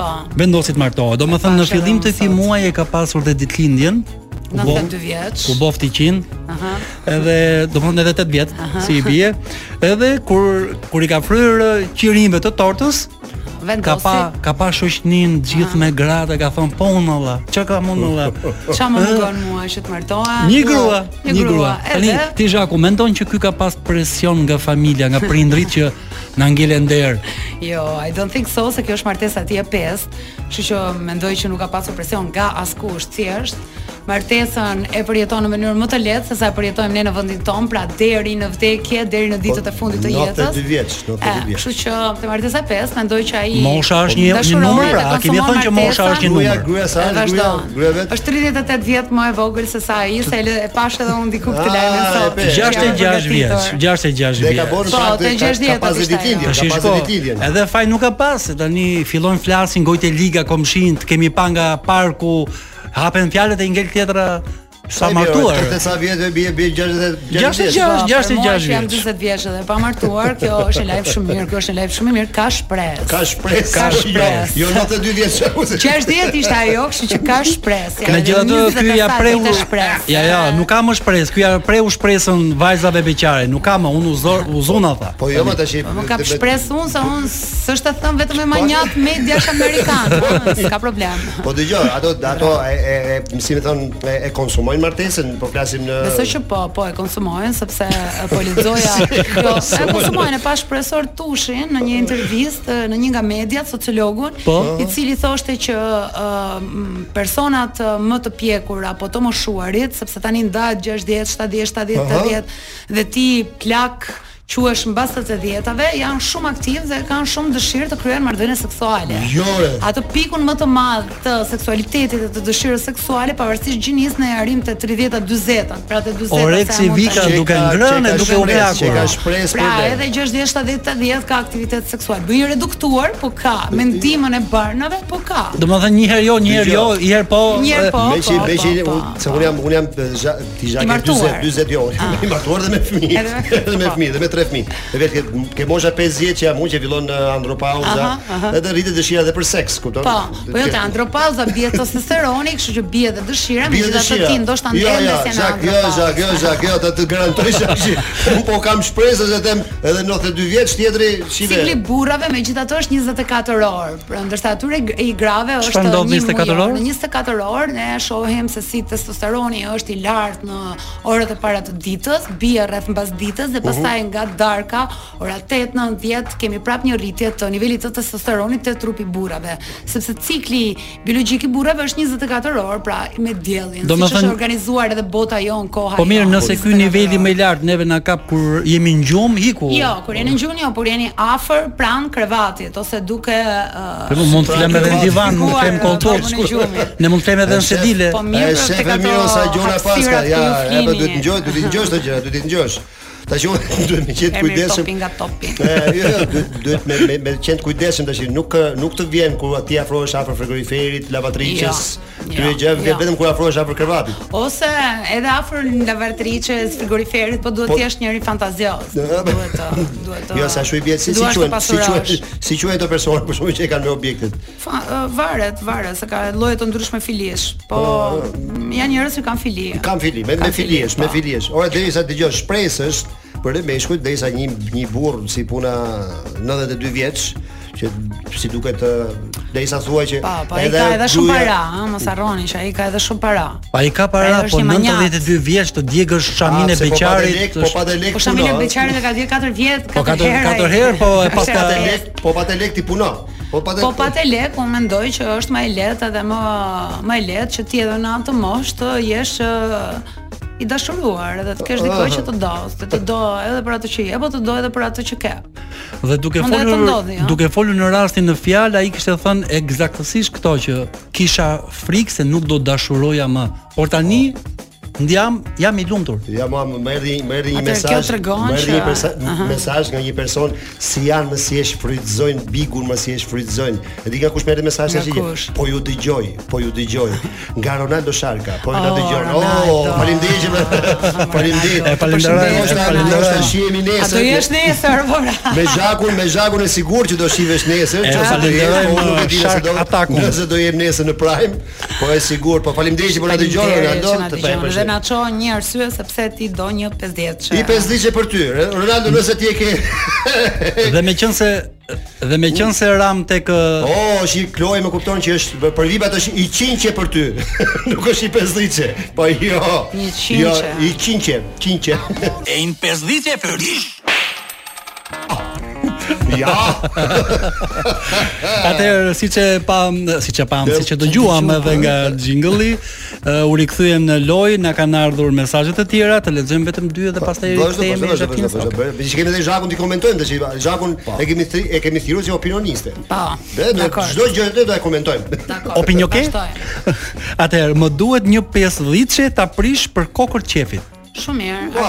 Po.
vendosi të martohet. Domethënë në
Bashkë
fillim
edhe unë
të këtij
sot.
muaji ka pasur dhe ditëlindjen. ku bo-
92 vjeç.
Ku bofti 100,
Aha.
edhe domethënë edhe 8 vjet si i bie. Edhe kur kur i ka fryrë ë, qirinjve të tortës,
Vendosi.
ka pa ka pa shoqënin të gjithë me gratë, ka thon po unë valla. Çka ka mund valla?
Ç'a më mungon mua që të martohem?
Ah. Një grua,
një grua.
Tani
Edhe
ti Zhaku mendon që ky ka pas presion nga familja, nga prindrit që na ngelen der.
jo, I don't think so se kjo është martesa ti e pestë, kështu që mendoj që nuk ka pasur presion nga askush, thjesht martesën e përjeton në mënyrë më të lehtë se sa e përjetojmë ne në vendin ton, pra deri në vdekje, deri në ditët e fundit të
92
jetës.
vjeç, 92
E,
vjeç.
Kështu që te martesa 5 mendoj që ai
Mosha është një- një
dashuron
numër,
dhe
pra, a kemi
konsumon
thënë që mosha
martesën?
është një
Gruaja,
numër.
gruaja sa
E
është? Gruaja,
vazhdon.
gruaja vet.
Është 38 vjet më e vogël se sa ai, se e pash edhe unë diku këtë
Ah,
lajmin
e
sot.
pe.
që jam
66 vjeç,
përgatitur.
66
Dhe
vjeç.
ka
Po,
bërë fakt,
te
ka-
60
Ka pas
atë ishte
ditëlindjen,
Tash
ka pas
shiko,
ditëlindjen.
edhe faj nuk ka pas, se tani fillojnë flasin gojtë e liga komshin, të kemi pa nga parku, hapen fjalët e ngel tjetra sa
Sa i bie,
martuar.
ore, Sa vjetëve bie bie 60
60
vjeç.
Po, për
66
mua që Jam
vjeç.
40 vjeç edhe pa martuar, kjo është një lajm shumë mirë, kjo është një lajm shumë i mirë, ka shpresë.
Ka shpresë.
Ka
jo,
shpresë.
Jo 92 vjeç.
60 ishte ajo, kështu që ka shpresë.
Me gjithatë ky ja prehu Ja,
Ja,
ja, nuk ka më shpresë. Ky ja prehu shpresën vajzave beqare. Nuk ka më, unë uzor, uzon ata.
Po jo më tash. i-
Më kap
të-
shpresë unë se unë s'është të thëmë vetëm e manjat media është amerikan, ha, s'ka problem.
Po dëgjoj, ato ato e e, e si më thon e, e konsumojnë martesën, po flasim në
Besoj që po, po e konsumojnë sepse e, po lexoja. Jo, e konsumojnë e pa shpresor Tushin në një intervistë e, në një nga mediat sociologun,
Po.
i cili thoshte që ë, m, personat ë, më të pjekur apo të moshuarit, sepse tani ndahet 60, 70, 70, 80 dhe ti plak quhesh mbas të 80-tave, janë shumë aktiv dhe kanë shumë dëshirë të kryejnë marrëdhënie seksuale.
Jo, re.
Atë pikun më të madh të seksualitetit dhe të dëshirës seksuale pavarësisht gjinisë në arrim të 30-ta 40-ta, pra të 40-ta.
Oreksi Vika
Që
duke
ka-
ngrënë
që
e
ka
duke u
shpresë, që
plakur.
ka shpresë
Pra,
për
edhe 60 70 80 ka aktivitet seksual. Bëj reduktuar, po ka. Mendimën e barnave, po ka.
Domethënë një herë jo, një herë jo, një herë po.
Një herë
e-
po.
Me që me që
po,
unë- se
po.
unë jam unë jam e, zha- ti zha
I
ke 40
martuar. Ah.
40 jo, i martuar dhe me fëmijë,
Edhe me fëmijë,
edhe me
po.
fëmijë, dhe me tre fëmijë. Dhe vetë ke, ke mosha 50 që jam unë që fillon e, andropauza,
Aha, aha.
edhe rritet dëshira edhe për seks, kupton?
Po, po jo te andropauza bie testosteroni, kështu që bie edhe dëshira,
Bie
megjithatë
dëshira.
ti ndoshta
Jo,
ndjen
jo,
dhe se në
Zak, jo, Zak, jo, Zak, jo, ta të garantoj Zak, që unë po kam shpresë se them edhe 92 vjeç tjetri shive.
Cikli burrave megjithatë është 24 orë. Pra ndërsa atyre g- i grave është
Çfarë ndodh
një
24
muaj.
orë?
Në 24 orë ne shohim se si testosteroni është i lartë në orët e para të ditës, bie rreth mbas ditës dhe pastaj nga darka ora 8, 9, 10 kemi prap një rritje të nivelit të testosteronit te trupi i burrave, sepse cikli biologjik i burrave është 24 orë, pra me diellin.
Do
Siç
me
është
thënë-
organizuar edhe bota jon, koha
Po mirë,
jon,
nëse ky
24
niveli
orë.
më i lartë neve na kap kur jemi në gjumë, hiku.
Jo, kur jeni në gjuni, jo, kur jeni afër pran krevatit ose duke
Po
uh,
mund të flem edhe në divan, mund të flem
Shikuar,
koltuk.
babun e gjumit.
Ne mund të flem edhe në sedile.
po mirë,
E,
pra,
shef,
tek
e
ato
mirë sa gjona
hapësirat
paska,
ku ju
ja,
flini.
apo duhet të ngjosh, duhet të ngjosh këto gjëra, duhet të ngjosh. Tash unë duhet me qenë
E mirë
kujdesshëm.
topi nga topi.
E, jo, jo, duhet duhet me me me qenë kujdesshëm tash, nuk nuk të vjen kur ti afrohesh afër frigoriferit, lavatriçës,
Jo,
këtyre
jo,
gjërave,
jo.
vetëm kur afrohesh afër krevatit.
Ose edhe afër lavatriçes, frigoriferit, po duhet
Po-
të jesh njëri fantazioz. Duhet të duhet të
Jo, sa shuj vjet, si si
duash të
quhen, si
pasurosh.
quhen, si quhen ato persona për shkak që e kanë me objektet.
Fa- ë, Varet, varet, se ka lloje të ndryshme filish, po m, janë njerëz që kanë fili.
Kam fili, me, me
Kam fili,
filiesh, me
po.
filiesh. Ora derisa dëgjoj shpresësh për të meshkujt derisa një një burr si puna 92 vjeç që si duket ë, derisa thuaj që
Po, po, ai ka edhe shumë
gruaja-
para, ha, mos harroni që ai ka edhe shumë para.
Pa i ka
Pra,
para,
është
po
një Ah, manjak.
92 vjeç të djegësh shamin e
A, pse
beqarit.
Po pa
është-
të lek,
Po
po pa
shamin e
lek puno.
beqarit ka dhënë 4 vjet, 4
Po, katër-
herë.
katër
ai.
herë, po, e pas
Po
Katër
pa
ta-
të
herë.
lek, po pa të lek ti puno. Po pa të
Po pa te lek, unë mendoj që është më e lehtë edhe më më e lehtë që ti edhe në atë moshë të jesh ë, i dashuruar edhe të kesh dikoj që të do, të të do edhe për atë që je, po të do edhe për atë që ke.
Dhe duke
Mund të
folur
ndodhi, ha?
duke folur në rastin në fjalë ai kishte thënë eksaktësisht këto që kisha frikë se nuk do dashuroja më. Por tani
Po.
Ndi jam jam i lumtur.
Ja mua më erdhi më erdhi një
Atëherë,
mesazh.
kjo tregon
më erdhi
që-
një persa-
Aha.
mesazh nga një person si janë më si e shfrytëzojnë bigun, më si e shfrytëzojnë. E di nga kush më erdhi mesazhi
Nga
tash që
kush?
po ju dëgjoj, po ju dëgjoj. Nga Ronaldo Sharka, po ju
Oh,
dëgjoj.
Ronaldo.
Oh, faleminderit që më faleminderit.
E falenderoj, e
Ndoshta-
falenderoj.
ndoshta shihemi
A
nesër.
do jesh nesër, Bora?
Me zhakun, me zhakun e sigurt që do shihesh nesër,
E,
që do jetë,
falenderoj,
po,
më,
nuk e di nëse
Shark
do-
Attack-un.
Nëse do jem nesër në Prime, po e sigurt, po faleminderit që po na dëgjon
Faleminderit
Ronaldo,
që na
të pa e
dëgjon. Dhe
përshëndet.
na çon një arsye sepse ti do një 50-çe.
I pesdhiçe për ty. Ronaldo, nëse ti e ke.
Dhe meqense dhe meqense ram tek ë,
Oh, është i Kloe më kupton që është për vipat është i qinqe për ty. Nuk është i pesdhiçe. Po jo.
Një qinqe.
Jo, i qinqe, qinqe.
E in pesdhice për
ja.
Atëherë siç e pam, siç e pam, siç e dëgjuam edhe nga jingle-i, ë, u rikthyem në lojë, na kanë ardhur mesazhe të tjera, të lexojmë vetëm dy dhe pastaj
Po, Vazhdo,
rikthehemi
vazhdo,
në
vazhdo, vazhdo.
takimin.
Bëj që kemi edhe Zhakun ti komentojmë tash. Zhakun e kemi thri- e kemi thirrur si opinioniste.
Po,
Dhe do
dakor.
çdo gjë do ta komentojmë.
Dakor.
Opinjoke?
Vazhdojmë.
Atëherë më duhet një 50 ta prish për kokër qefit.
Shumë mirë,
Wow,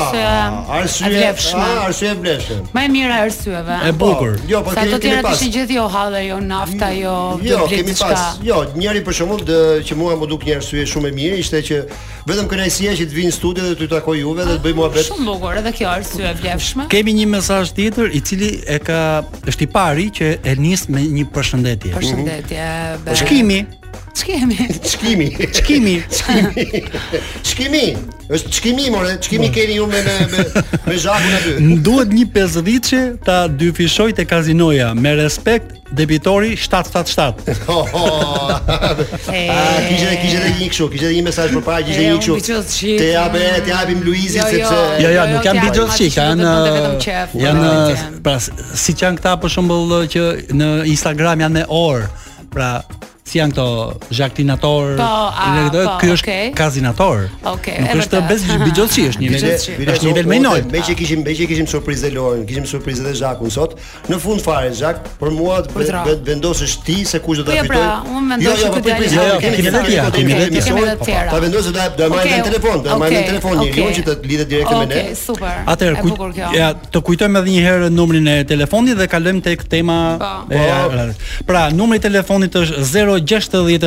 arsye
Arsye,
e vlefshme.
ah, arsye e vlefshme.
Më e mira e arsyeve.
E bukur.
Jo, po
Sa
kemi
të
kemi
tjera
pas.
kishin gjithë jo hallë, jo nafta, jo
Jo,
do blet
kemi
diçka.
pas. Jo, njëri për shembull dë- që mua më duk një arsye shumë e mirë ishte që vetëm kënaqësia që të vi në studio dhe të takoj juve dhe të bëj muhabet.
Shumë bukur, edhe kjo arsye e vlefshme.
Kemi një mesazh tjetër i cili e ka është i pari që e nis me një
Mhm.
përshëndetje.
Përshëndetje.
Po,
be.
Shkimi,
Shkimi.
Çkimi.
shkimi.
Çkimi. Është çkimi more, çkimi keni ju me me me, me zhakun aty.
Më duhet një 50-çe ta dyfishoj te kazinoja me respekt debitori 777.
Oh, oh. Ah, kishte kishte edhe një kështu, kishte edhe një mesazh përpara, kishte
E,
një
unë
kështu.
biços shit.
Te jape, te japim Luizit sepse
Jo, jo,
Jo, jo,
nuk janë
t'ja-
bitë
atë
çik,
që
janë
duhet të vetëm qef,
janë
po, vetëm.
pra s- si që janë këta për shembull që në Instagram janë me orë. Pra si janë këto zhaktinator,
Po, a,
këto,
po,
ky është
okay.
kazinator.
Okay,
nuk
e
është
vërtet.
bez bigjotësi, është një nivel,
Bigjotësi.
është një nivel më i
noj.
lartë.
Me që kishim, me që kishim surprizë dhe Lorin, kishim surprizë dhe Zhakun sot. Në fund fare Zhak, për mua të ve-
Kujtra.
ve- vendosësh ti se kush do ta
Po, jo,
fitoj.
pra, unë mendoj që
po
këtë
prit, prit,
djalë-
jo,
Jo, kemi
kemi
dhe tjera,
kemi
kemi
dhe
dhe
tjera.
kemi dhe
Po, po,
tjera.
Ta vendos do do marrim në
Okej,
telefon, do marrim në
okej,
telefon një
okej.
që të lidhet direkt me ne.
Okej, super.
Atëherë,
E
kuj-
bukur kjo.
ja, të kujtojmë edhe një herë numrin e telefonit dhe kalojmë tek tema
Po.
e
Po.
radhës. Pra, numri i telefonit është 069 442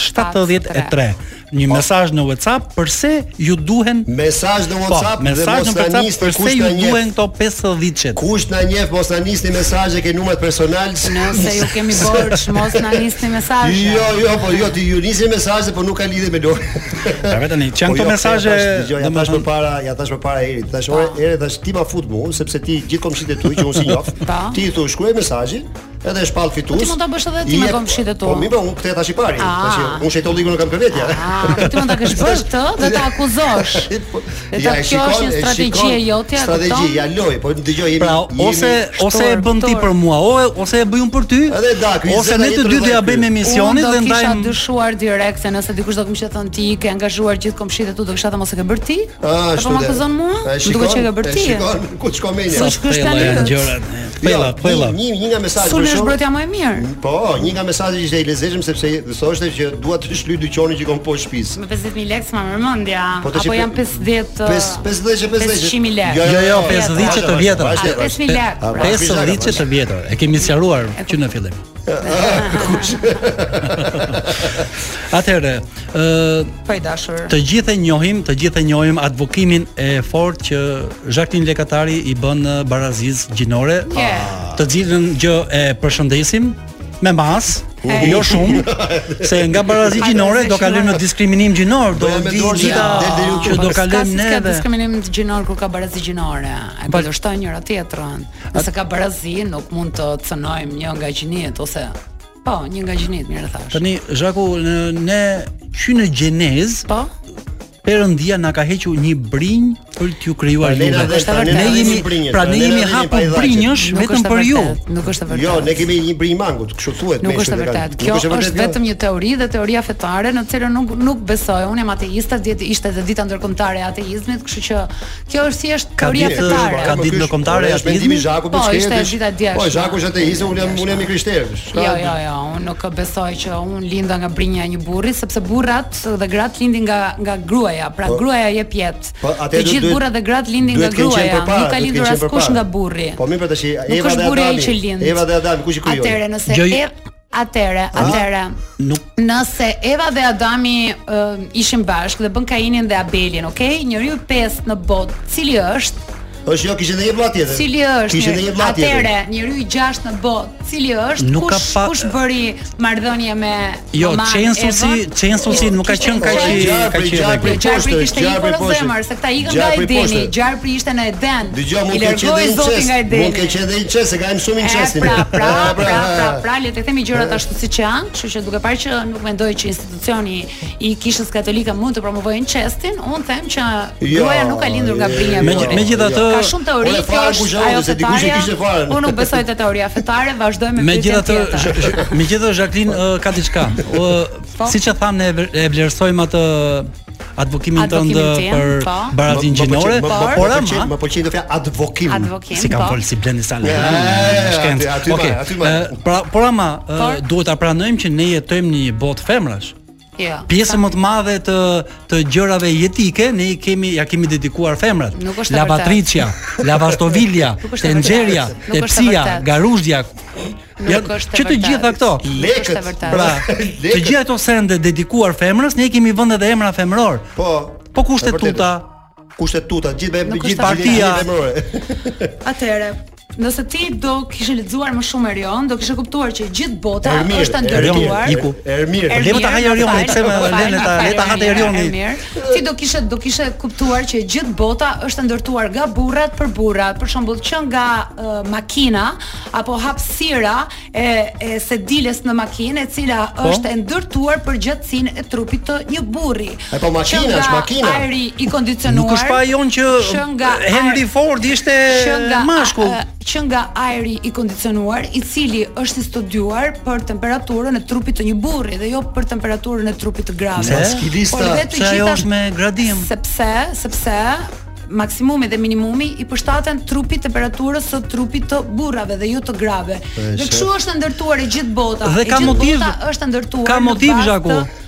8873. Një
Po.
mesazh në WhatsApp, përse ju duhen
Mesazh në WhatsApp
po,
dhe
mesazh
mos
në
na
WhatsApp,
nisni
përse
kush
ju
na njeh.
duhen këto 50-çet.
Kush na njeh mos na nisni mesazhe ke numrat personal.
Nëse ju kemi borx, mos na nisni mesazhe.
Jo, jo, po jo ti ju nisni mesazhe, po nuk ka lidhje me Lorin.
Pra vetëm që janë
Po
këto
jo,
mesazhe,
ja tash, dëgjoj, ja tash
domethënë,
përpara, ja tash përpara erit. Tash ore, ere tash ti ma fut mua, sepse ti gjithë komshitë e tu që unë si njoh.
Pa.
ti i thu shkruaj mesazhin, edhe e shpall fitues.
Po ti mund ta bësh edhe ti me
i jep-
komshit e tu.
Po mirë, po unë këtë tash i pari.
Ah.
Tash unë shejton ligun e kam këvetja.
Ah, po ti mund ta kesh bërë këtë dhe ta akuzosh. Dhe ta
po, e
kjo është një
e
strategji e jotja, e
Strategji,
kupton?
ja loj, po dëgjoj jemi.
Pra,
jemi-
ose ose e
shtorë,
bën ti
shtorë.
për mua, o, ose e bëjun për ty.
Edhe da, ky
ose
20
ne të dy do ja
ky.
bëjmë emisionin dhe
Unë do kisha
ndajmë
dyshuar direkt se nëse dikush do kishte thënë ti ke angazhuar gjithë komshitë tu do kisha thënë mos e ke bërë ti.
Ah,
Apo Po, ma
dhe.
akuzon mua?
E
Më duket që e ke
shikon,
bërë ti.
Shikon ku shkon menja.
Sa shkruaj
Thella
tani?
janë gjërat.
Jo,
Thella, thella.
Një një- një nga mesazhet
Sulmi
për
është
shembull-
brotja më e mirë.
Po, një nga mesazhet ishte i lezetshëm sepse thoshte që dua të shlyj dyqanin që kam poshtë shtëpisë.
Me 50000 lekë s'ma mërmendja.
Po të
Apo
që-
janë 50
Pes- 50 që 50 që-
500.000 lekë.
Jo,
Jo, jo,
jo,
50 që të
vazhdo,
vjetër.
vazhdo,
A, 5.000 lekë.
A,
pra.
pra,
50 që të vjetër. E kemi sqaruar që në fillim. Atëherë, ë
Po i dashur.
të gjithë e njohim, të gjithë e njohim advokimin e fortë që Jacqueline Lekatari i bën në barazis gjinore,
Je.
Ah.
të cilën gjë e përshëndesim me mas,
Hey.
jo shumë, se nga barazit gjinore do kalojmë në diskriminim gjinor, do
Do jam me
vi
dorë që
gjitha
del deri u
që do
Ka
kalojmë
si s'ka
neve.
diskriminim të gjinor kur ka barazi gjinore. E kundërshton njëra tjetrën. Nëse ka barazi, nuk mund të cënojmë një nga gjinit ose po, një nga gjinit, mirë thash.
Tani Zhaku në ne qynë gjenez,
Po,
Perëndia na ka hequr një brinj për t'ju krijuar
Pra, Lena
juve.
dhe-
Është
pra,
e
Ne
vërtetë.
jemi
si brinjësh,
pra
pra,
ne
Lena
jemi
dhe jemi
hapur
pajdhaqe.
brinjësh
Nuk
vetëm
është e
për ju.
vërtet, Nuk është e vërtet.
Jo, ne kemi një brinjë mangut, kështu thuhet
Nuk është e
meshkujt e kanë.
vërtet.
Nuk
Kjo
e
është,
vërtet jo. kjo?
vetëm një teori dhe teoria fetare në të cilën nuk nuk besoj. Unë jam ateiste, ditë ishte edhe dita ndërkombëtare e ateizmit, kështu që kjo është thjesht
Ka
teoria
ditë-
fetare.
ka
Po,
ditë
ky
ndërkombëtare
është
e ateizmit?
Mendimi i Zhakut
Po,
për
ishte
shkeltish.
dita e djeshme.
Po, Zhaku është ateist, unë jam unë jam i krishterë. Shka-
Jo, jo, jo, unë nuk besoj që unë linda nga brinja e një burri, sepse burrat dhe gratë lindin nga nga gruaja, pra
Po.
gruaja jep jetë.
Po,
të
atëherë duhet-
gjithë
duhet-
burrat dhe gratë lindin nga
duhet të kenë qenë
gruaja, nuk
përpara,
ka
duhet të
lindur
kenë qenë
askush
përpara.
nga burri.
Po mirë, pra tash Eva
Nuk është
dhe
burri ai
Adami.
që lind.
Eva dhe Adami, kush i krijoi?
Atëre, nëse
Gjoj-
Ev- Atëre, atëre.
Nuk
Nëse Eva dhe Adami uh, ishin bashkë dhe bën Kainin dhe Abelin, okay? Njeriu i pestë në botë, cili është?
Është jo, kishte edhe një vlla tjetër.
Cili është?
Kishte edhe një vlla tjetër.
Atëre, njeriu i gjashtë në botë, cili është?
Nuk ka
kush
pa-
kush bëri marrëdhënie me
Jo,
Oman,
censusi,
Evën?
censusi nuk ka
Kishte-
qenë kaq i
Gjarpri,
kaq i
gjarpri.
rregull.
Jo, Gjarpri
poshtë,
kishte ikur
gjarpri
në
poshtë.
zemër, se këta ikën nga
Gjarpri
Edeni,
poshtë.
Gjarpri ishte në Eden.
Dëgjoj,
i
mund të ketë
largoi
edhe
Zoti
inces.
nga
Mund të
Edeni.
ketë edhe inces, se ka mësuar
E,
incesin.
pra, pra, pra,
E,
pra, pra, le të themi gjërat ashtu siç janë, kështu që duke parë që nuk mendoj që institucioni i Kishës Katolike mund të promovojë incestin, unë them që
Jo,
gruaja nuk ka lindur nga brinja e
Me-
burrit.
megjithatë-
ka shumë teori, kjo
Ore, fare kush
është
janë,
ajo
se dikush i
fetaria.
kishte fare.
Unë nuk besoj te teoria fetare, vazhdoj me pyetjen
Megjithatë,
tjetër.
zh- zh- megjithatë Jacqueline ë, ka diçka.
Po.
Ë, Siç e tham ne e vë- e vlerësojmë atë advokimin tënd
Advokimin
ë,
tim,
për
po.
baratin gjinore, Pra, por ama
më pëlqen do fjalë advokim.
Advokim,
si kam
po.
fol si blendi sa
Ja, ja, aty- aty ma, aty ma.
pra por ama ë,
Por?
duhet ta pranojmë që ne jetojmë në një botë femrash.
Jo.
Pjesë më të madhe të të gjërave jetike ne i kemi ja kemi dedikuar femrat.
Nuk është e
La
vërtetë.
Patricia, La Vastovilja,
Nuk është e
Tenxheria,
vërtetë. Nuk është e
Tepsia,
vërtetë.
Garuzhja.
Nuk
janë-
është e
Që të
vërtetë.
gjitha këto.
Nuk është e
Lekët.
vërtetë.
Pra,
Lekët.
të gjitha ato sende dedikuar femrës, ne i kemi vënë edhe emra femror.
Po.
Po ku është
e vërtetë.
tuta?
Ku është tuta? Gjithë me
Nuk
gjithë
është
partia.
gjithë femërore.
Atëherë, nëse ti do kishe lexuar më shumë Erion, do kishe kuptuar që gjithë bota
Ermir,
është e
Erion,
ndërtuar.
iku.
Ermir.
Ermir,
Le më ta hajë
më
Orioni,
fal,
pse më
më fal,
lene
më
ta-
fal,
le ta hajë Orioni.
Ermir. Ti do kishe do kishe kuptuar që gjithë bota është e ndërtuar nga burrat për burrat, për shembull që nga ë, makina apo hapësira e e sediles në makinë, e cila
Po?
është e ndërtuar për gjatësinë e trupit të një burri.
E po, makina,
Që nga
është makina.
Ajri i kondicionuar.
Nuk është pa jon që
që nga
Henry
ajri-
Ford ishte
që nga
mashkull.
a- a- që nga ajri i kondicionuar, i cili është i studiuar për temperaturën e trupit të një burri dhe jo për temperaturën e trupit të grave.
Pse?
Skilista.
Por dhe të
Pse ajo
gjitha-
është me gradim?
Sepse, sepse maksimumi dhe minimumi i përshtaten trupit temperaturës së trupit të burrave dhe jo të grave. Dhe kështu është ndërtuar e gjithë bota.
Dhe
E
ka
gjithë
motiv-
bota është ndërtuar.
ka
në
motiv,
bazë
Zhaku.
të-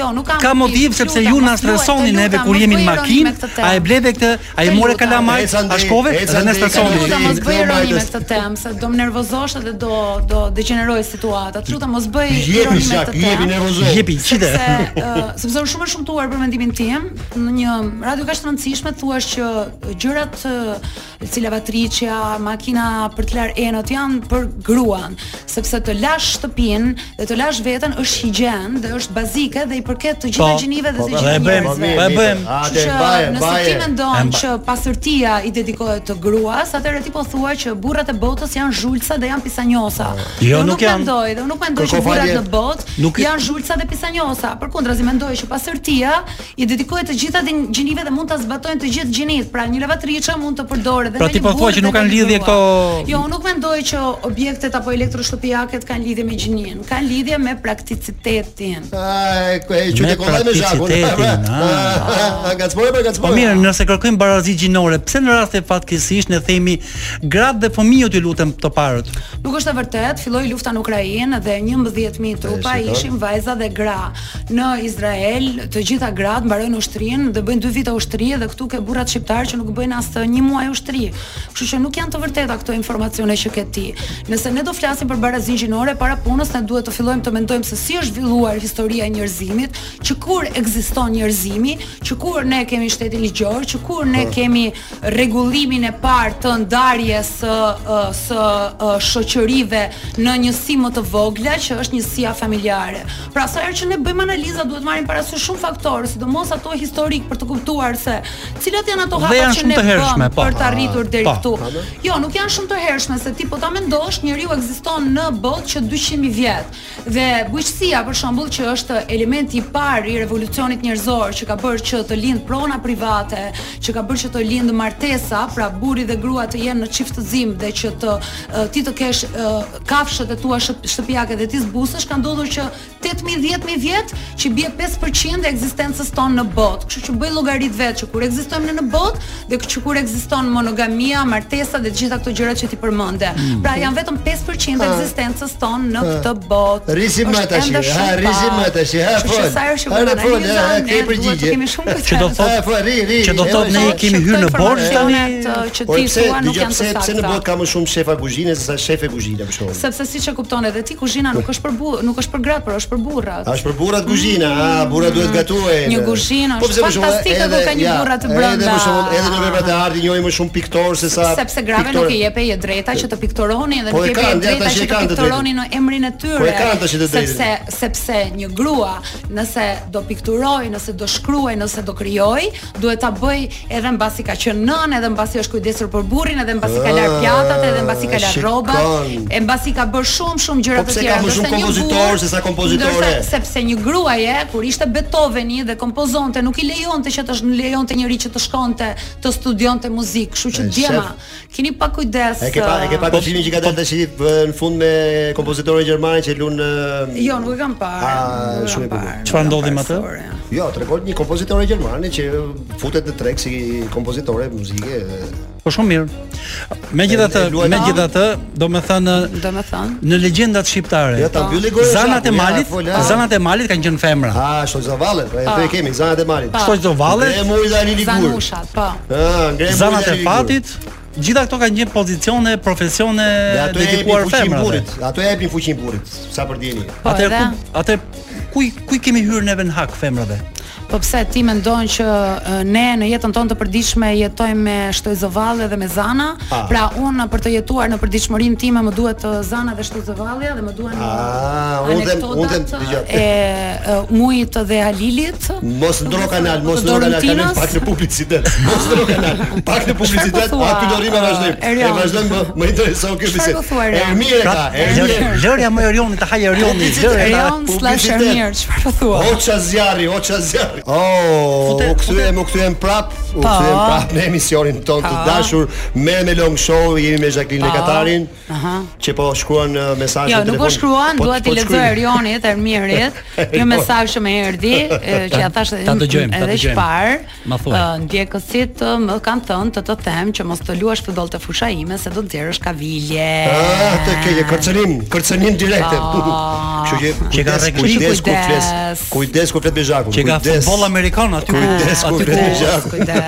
Jo, nuk ka,
Ka motiv sepse ju na stresoni neve kur jemi në makinë, a e bleve këtë, a e
Të
more
lutem.
kalamaj,
Ecën
a
di,
shkove
ecën
dhe ne
di,
Të
Soni,
stresoni.
kalamaj.
lutem
i-
mos bëj
i-
ironi me
majtës.
këtë temë, se do më nervozosh edhe do do degeneroj situata. Të lutem mos bëj
Jepi
ironi me
shak,
këtë
jepi
temë.
nervozo.
Jepi qite.
Sepse, uh, sepse unë shumë e shumtuar për mendimin tim, në një radio kaq të rëndësishme thuash që gjërat uh, si lavatriçja, makina për të larë enët janë për gruan, sepse të lash shtëpinë dhe të lash veten është higjien dhe është bazike dhe i përket të gjitha
Po,
gjinive
po,
dhe të
dhe e
gjitha
bëjmë,
njerëzve.
po e bëjmë.
Kështu
Atë
që
baje,
nëse
baje.
ti
E
mendon
mba-
që pastërtia i dedikohet të gruas, atëherë ti po thua që burrat e botës janë zhulsa dhe janë pisanjosa.
Jo,
Unë
nuk janë.
mendoj, dhe unë nuk mendoj
Kërko
që burrat
falje.
në botë
Nuk-
janë zhulsa dhe pisanjosa. Përkundrazi mendoj që pastërtia i dedikohet të gjitha din- gjinive dhe mund ta zbatojnë të gjithë gjinit. Pra një lavatriçe mund të përdoret dhe
Pra
me
ti
një
po thua
burrë
që
dhe
nuk
me
kanë
një
lidhje
grua.
këto-
Jo, unë nuk mendoj që objektet apo elektroshtëpiaket kanë lidhje me gjinin, kanë lidhje me prakticitetin.
Ai, e
Me
qytet kollaj me zhakun.
prakticitetin, a.
Ah, Gacmoj apo gacmoj?
Po mirë, nëse kërkojmë barazi gjinore, pse në rast e fatkeqësisht ne themi gratë dhe fëmijët ju lutem të parët?
Nuk është e vërtet, filloi lufta në Ukrainë dhe 11000 trupa
E, shikoj.
ishin vajza dhe gra. Në Izrael, të gjitha gratë mbarojnë ushtrinë dhe bëjnë 2 vite ushtri dhe këtu ke burrat shqiptar që nuk bëjnë as të një muaj ushtri. Kështu që nuk janë të vërteta këto informacione që ke ti. Nëse ne do flasim për barazinë gjinore para punës, ne duhet të fillojmë të mendojmë se si është zhvilluar historia e njerëzimit, që kur ekziston njerëzimi, që kur ne kemi shtetin ligjor, që kur ne
Po.
kemi rregullimin e parë të ndarjes së ë, së ë, shoqërive në njësi më të vogla që është njësia familjare. Pra sa herë që ne bëjmë analiza duhet marrim parasysh shumë faktorë, sidomos ato historik për të kuptuar se cilat janë ato
Dhe
hapa
janë
që
shumë
ne
të hershme,
bëmë
po.
për të arritur deri
Po.
këtu. Jo, nuk janë shumë të hershme se ti po ta mendosh, njeriu ekziston në botë që 200 mijë vjet. Dhe bujqësia për shembull që është element elementi i parë i revolucionit njerëzor që ka bërë që të lind prona private, që ka bërë që të lind martesa, pra burri dhe grua të jenë në çiftëzim dhe që të eh, ti të kesh eh, kafshët e tua shëp- shtëpiake dhe ti zbusësh, ka ndodhur që 8000 10000 vjet që bie 5% e ekzistencës tonë në botë. Kështu që bëj llogarit vetë që kur ekzistojmë ne në botë dhe që kur ekziston monogamia, martesa dhe të gjitha këto gjëra që ti përmende.
Mm.
Pra janë vetëm 5% e ekzistencës tonë në këtë botë.
Rrisim më
Është
tash,
ende
ha,
shumë
rrisim
pak.
më tash, ha,
Kështu që
fol.
sa herë që
Ha,
bëjmë
fol,
analiza,
ha,
ne
ke
duhet
përgjigje.
të kemi shumë
Që do
kujdes.
thotë-
Ha, po, ri, ri.
Që do
e,
thotë
e,
ne
e,
i kemi
Që
hyrë
këto
në borxh tani.
informacionet, uh, që
Po
ti
pse,
thua nuk
dëgjoj,
janë
pse,
të
pse në
sakta.
botë ka më shumë shefa kuzhine se sa shefe kuzhine për shkak.
Sepse siç e kupton edhe ti, kuzhina nuk është për bu, nuk është për gratë, por është për burrat.
A është për burrat kuzhina, a burra duhet gatuaj.
Një kuzhinë
Po
është
pse për shembull,
fantastike
edhe-
ku ka një
ja,
burra të
Edhe për
brenda.
shembull, edhe në veprat e artit njohim më shumë piktor se sa
sepse grave
piktore.
nuk i jepej e drejta që të piktoroni dhe
Po
nuk i
e
jepej e
kanë, ja,
drejta
tash
që
e
të
kanë të
piktoroni në emrin e tyre.
Po e kanë tash të drejtën.
Sepse sepse një grua, nëse do pikturoj, nëse do shkruaj, nëse do krijoj, duhet ta bëj edhe mbasi ka qenë nën, edhe mbasi është kujdesur për burrin, edhe mbasi ka lar
Ah,
pjatat, edhe mbasi ka lar
shikon.
rrobat, e mbasi ka bërë shumë shumë gjëra
Po
të
pse ka
tjera.
më
ndërsa
shumë
një
kompozitor
burr-
se sa kompozitore?
ndërsa- sepse një gruaje kur ishte Beethoveni dhe kompozonte nuk i lejonte që të sh- lejonte njëri që të shkonte të studionte muzikë, kështu që
E,
djema, keni pa kujdes.
E ke pa e ke pa
uh,
filmin që ka dalë tash në fund me kompozitorin gjerman që lun e,
Jo, nuk e kam parë.
Ah,
nuk e kam
shumë e bukur.
parë, nuk
Çfarë
e kam
ndodhi me
parë
atë?
sore, ja.
Jo, tregon një kompozitore gjermane që futet në treg si kompozitore muzike. e,
Po shumë mirë. Megjithatë,
E- e luajnë-
megjithatë, domethënë
Domethënë,
në legjendat shqiptare.
Ja ta mbylli gorën.
Zanat e
shakun, ja,
malit,
fol, ja.
zanat e malit kanë qenë femra.
Ah, shoqëzavalle, pra e the kemi zanat e malit.
Pa.
Shtojzovalle,
Ngre muri tani ligur.
zanushat, po.
Ah, ngre muri
zanat e
tani ligur.
fatit, gjitha këto kanë gjenë pozicione, profesione
Dhe ato e
dedikuar
japin fuqin
femrave.
burrit. Ato e japin fuqin burrit, sa për dieni.
Po,
Atëherë
edhe-
ku atë ku i- ku i kemi hyrë neve në hak femrave?
Po pse ti mendon që e, ne në jetën tonë të përditshme jetojmë me shtojzovalle dhe me zana?
Ah.
Pra unë për të jetuar në përditshmërinë time më duhet të zana dhe shtojzovalle dhe më duhen
Ah, unë them- unë them-
anekdotat,
dëgjoj.
e, e mujit dhe Halilit.
Mos ndro kanal, mos
Të
ndro kanal, kanal
Dorëntinës.
pak në publicitet. Mos ndro kanal, pak në publicitet,
po thua,
aty do rrimë
uh,
vazhdim. E
Erion?
vazhdojmë, më- më intereson kjo
Çfarë
bisedë.
po thua, Erion?
Ermir e ka, Ermir.
Lë- Pra, Lërja më Erionit, ta haj Erionit,
Publicitet.
lërja.
Erion slash
publicitet.
Ermir, çfarë po thua?
Hoqa zjarri, hoqa zjarri. Oh,
Fute-
u kthyem, u kthyem prap, u kthyem prap në emisionin ton të
Pa.
dashur Merë me Long Show, jemi me Jacqueline
Pa.
Katarin,
Aha.
që po shkruan uh, mesazhe
Jo,
në
nuk
telefon.
po shkruan,
Po-
dua
po
t'i lexoj
shkruajnë.
Erionit, Ermirit, një
Erion.
mesazh që më erdhi, e, që ja thash
Ta dëgjojmë, ta
edhe
dëgjojmë.
çfarë.
Ma thuaj.
ë, Ndjekësit ë, më kanë thënë të të them që mos të luash futboll të fusha ime se do të nxjerrësh kavilje.
Ah, të ke një kërcënim, kërcënim direkte.
Ah.
Kështu që
Që ka
kujdes,
rregull.
kujdes kur
Kujdes.
fles, kujdes kur flet me Zhakun.
Që ka futboll amerikan aty ku
Ah,
Kujdes,
aty ku
kujdes.
Kujdes, kujdes.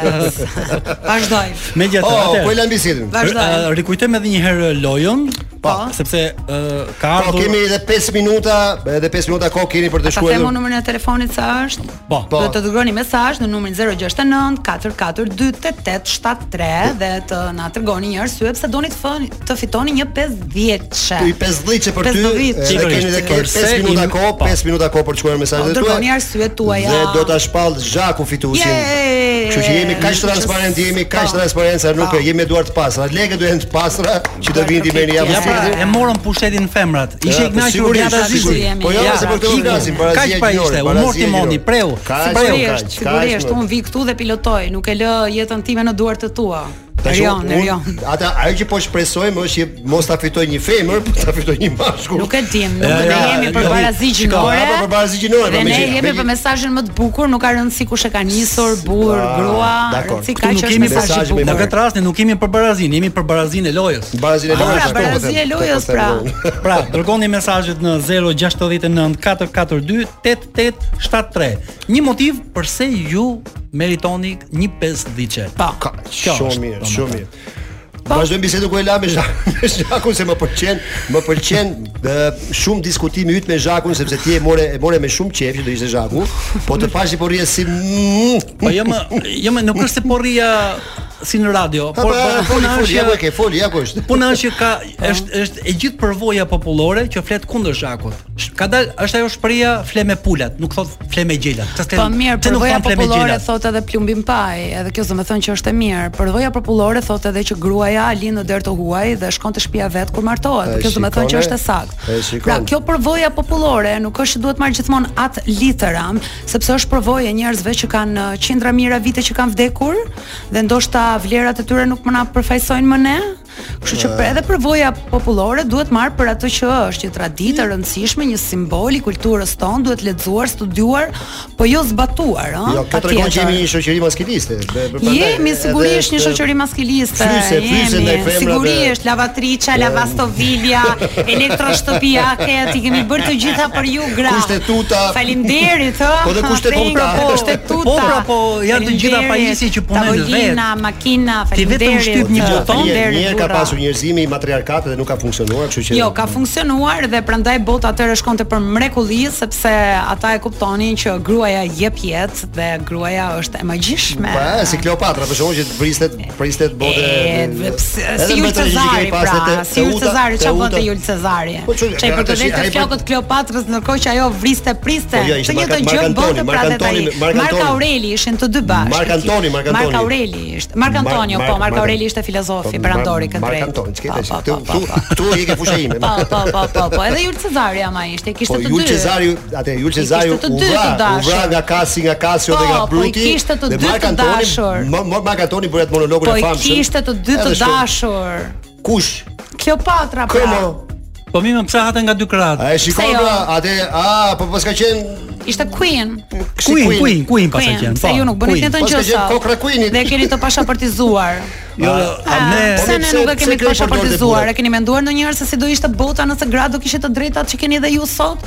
Vazhdoj.
megjithatë
Oh,
atëherë,
po e lëm bisedën.
Vazhdoj.
r- ë, Rikujtojmë edhe një herë lojën, pa, sepse ë, ka
Po
ardhur
kemi edhe 5 minuta, edhe 5 minuta kohë keni për të
Ta
shkruar.
them unë numrin e telefonit sa është?
Po.
Po.
Do të dërgoni mesazh në numrin 069 442 8873 dhe të na tregoni një arsye pse doni të foni- të fitoni një 50-çe.
I 50 që për ty,
Pesdhjetë.
e, dhe keni
Sigurisht,
edhe
sigurisht.
5 minuta
Pse i-
kohë,
po.
5 minuta kohë për të shkruar mesazhet
Po,
tuaja.
dërgoni arsyet tuaja.
Dhe do ta shpall Zhaku fituesin.
Yay!
Kështu që jemi kaq
Kështu që-
transparent, jemi kaq
Po.
transparent sa nuk
Po.
jemi me duart të pastra. Lekët do jenë të pastra që do vinë ti merrni
Ja,
Ja
javën
pra,
tjetër.
e morën pushtetin femrat. Ishte
Ja,
i kënaqur
sigurisht,
Bjata
sigurisht.
Zizi.
Po jo,
Ja,
se
për këtë
Kiku,
flasim, parazia
Kaq pa
gjinore,
ishte, u
parazia
mor timoni,
gjinore.
preu.
Kaq,
preu.
kaq.
Sigurisht, sigurisht,
kaq,
unë vi këtu dhe pilotoj, nuk e lë jetën time në duart të tua.
Tash
Erion,
unë-
Erion.
unë- Ata ajo që po shpresojmë është që mos ta fitoj një femër, por ta fitoj një mashkull.
Nuk e dim, nuk
Ja,
ne
ja,
jemi
ja,
për
ja,
barazi
Shiko,
gjinore.
ja, po për barazi gjinore,
Dhe
po,
ne
me gjë-
jemi
me
për
gjë-
mesazhin më të bukur, nuk ka rëndësi kush e ka nisur, burr,
Ah,
grua,
dakor.
rëndësi
Këtu
ka
Nuk
që është
kemi
mesazh
mesazhi i
me
Në
bukur.
këtë rast ne nuk kemi për barazin, jemi për barazin e lojës.
Barazin e
Ah,
lojës.
pra,
ashtu po
barazi
them,
e lojës,
po them
pra.
unë.
Pra, dërgoni mesazhet në 069 442 8873. Një motiv pse ju meritoni një 50 diçe.
Po.
Ka,
Kjo
shumë
është,
mirë,
domethënë.
shumë mirë. Po, Vazhdojmë bisedën ku e la me Zhak- me Zhakun se më pëlqen, më pëlqen e, shumë diskutimi yt me Zhakun sepse ti e more e more me shumë qejf që do ishte Zhaku, po të pashi po rrie si mm,
Po jo më, jo më nuk është se po rria si në radio,
Po,
por po-
foli,
puna
foli, ja ku e
është
ke, foli, ja ku është.
Puna është që ka është është e gjithë përvoja popullore që flet kundër shakut. Sh- Ka dal është ajo shprehja fle me pulat, nuk thot fle me gjelat. Çfarë
Po mirë,
çfarë nuk
përvoja
thon fle me
popullore
gjelat?
thotë edhe plumbim paj, edhe kjo do të thonë që është e mirë. Përvoja popullore thotë edhe që gruaja lind në derë të huaj dhe shkon të shtëpia vet kur martohet.
E
Kjo do të thonë që
shikone,
është e
e
saktë.
shikon.
Pra, kjo përvoja popullore nuk është që duhet marr gjithmonë atë literam, sepse është përvojë e njerëzve që kanë uh, qindra mijëra vite që kanë vdekur dhe ndoshta vlerat e tyre nuk më na përfaqësojnë më ne. Kështu që për- edhe përvoja popullore duhet marr për atë që është, një traditë e rëndësishme, një simbol i kulturës tonë, duhet lexuar, studiuar, po jo zbatuar, ëh.
Jo, kjo tregon që jemi një shoqëri maskiniste. be- be- prandaj
Jemi
edhe
sigurisht një
është-
shoqëri maskiliste.
Fryse, fryse ndaj
jemi
femrave. Po.
sigurisht lavatriça, lavastovilja, elektroshtëpiake, ti kemi bërë të gjitha për ju gra.
Kushtetuta.
Faleminderit, ë.
Po dhe kushtetuta.
Vengo, po,
Po, pra, po, janë të gjitha
Faleminderit.
pajisje që punojnë vetë.
Tavolina, makina,
Ti vetëm
faleminderit.
shtyp një
Një
ë,
buton,
herë-
faleminderit,
një herë ka
ura.
pasur njerëzimi i matriarkatit dhe nuk ka funksionuar, kështu që
Jo, ka funksionuar dhe prandaj bota atëherë shkonte për mrekulli sepse ata e kuptonin që gruaja jep jetë dhe gruaja është e magjishme.
Pa, si Kleopatra, për shkakun që të pristet, pristet bote.
E,
edhe
pse-
mbretërisht
si Jul
që i kemi
Cezari
pas,
pra,
te-
si
te
Jul
Uta-
Cezari,
te
çfarë bënte
Uta-
Jul Cezari?
Po, që-
Çe i
ka- tash,
përkëdhelte
ai po-
flokët Kleopatrës ndërkohë që ajo vriste priste.
Po, jo, ishte
të
Mark-
njëjtën
Mark
gjë
Antoni,
bote
Mark
pra dhe
Antoni,
tani.
Mark
Mark
Antoni.
Aureli ishin të dy bashkë.
Mark Antoni, Mark Antoni.
Mark Aureli ishte. Mark Antoni, po, Mark Aureli ishte
po,
filozofi perandori këtë drejt.
Mark Antoni, çka
Po,
Këtu,
po, po, po.
këtu- këtu je ke fusha ime.
Po, po, po, po, po, edhe Jul Cezari ama ishte, e
Po
kishte të dy.
Jul Cezari, atë Jul Cezari u
kishte të dy të
vra, u
dashur.
vra nga Kasi, nga Kasio
Po,
dhe nga
po, i
Bruti.
kishte të
dhe
dy
Mark
të
Antoni-
dashur.
Ma- ma- Mark Antoni bëri atë monologun
Po
e
i
famshëm.
kishte të dy të
Edhe shkon,
dashur.
Kush?
Kleopatra pra.
Këmo.
Po mi më pse haten nga dy krahat?
A e shikon
jo?
pra, atë, a, po paska qenë
Ishte Queen.
si
Queen, Queen, Queen pas e
Queen,
qenë.
pse
po,
ju nuk bëni
Queen.
të njëjtën
Po,
gjë
s'ka qenë
sot?
kokra Queenit.
Dhe keni të pashaportizuar.
Jo, a ne
po,
Ah, Pse
mi,
ne
pse-
nuk e kemi
pse kjo e përdorë
pashaportizuar?
deputet?
E keni menduar ndonjëherë se si do ishte bota nëse gra do kishte të drejtat që keni dhe ju sot?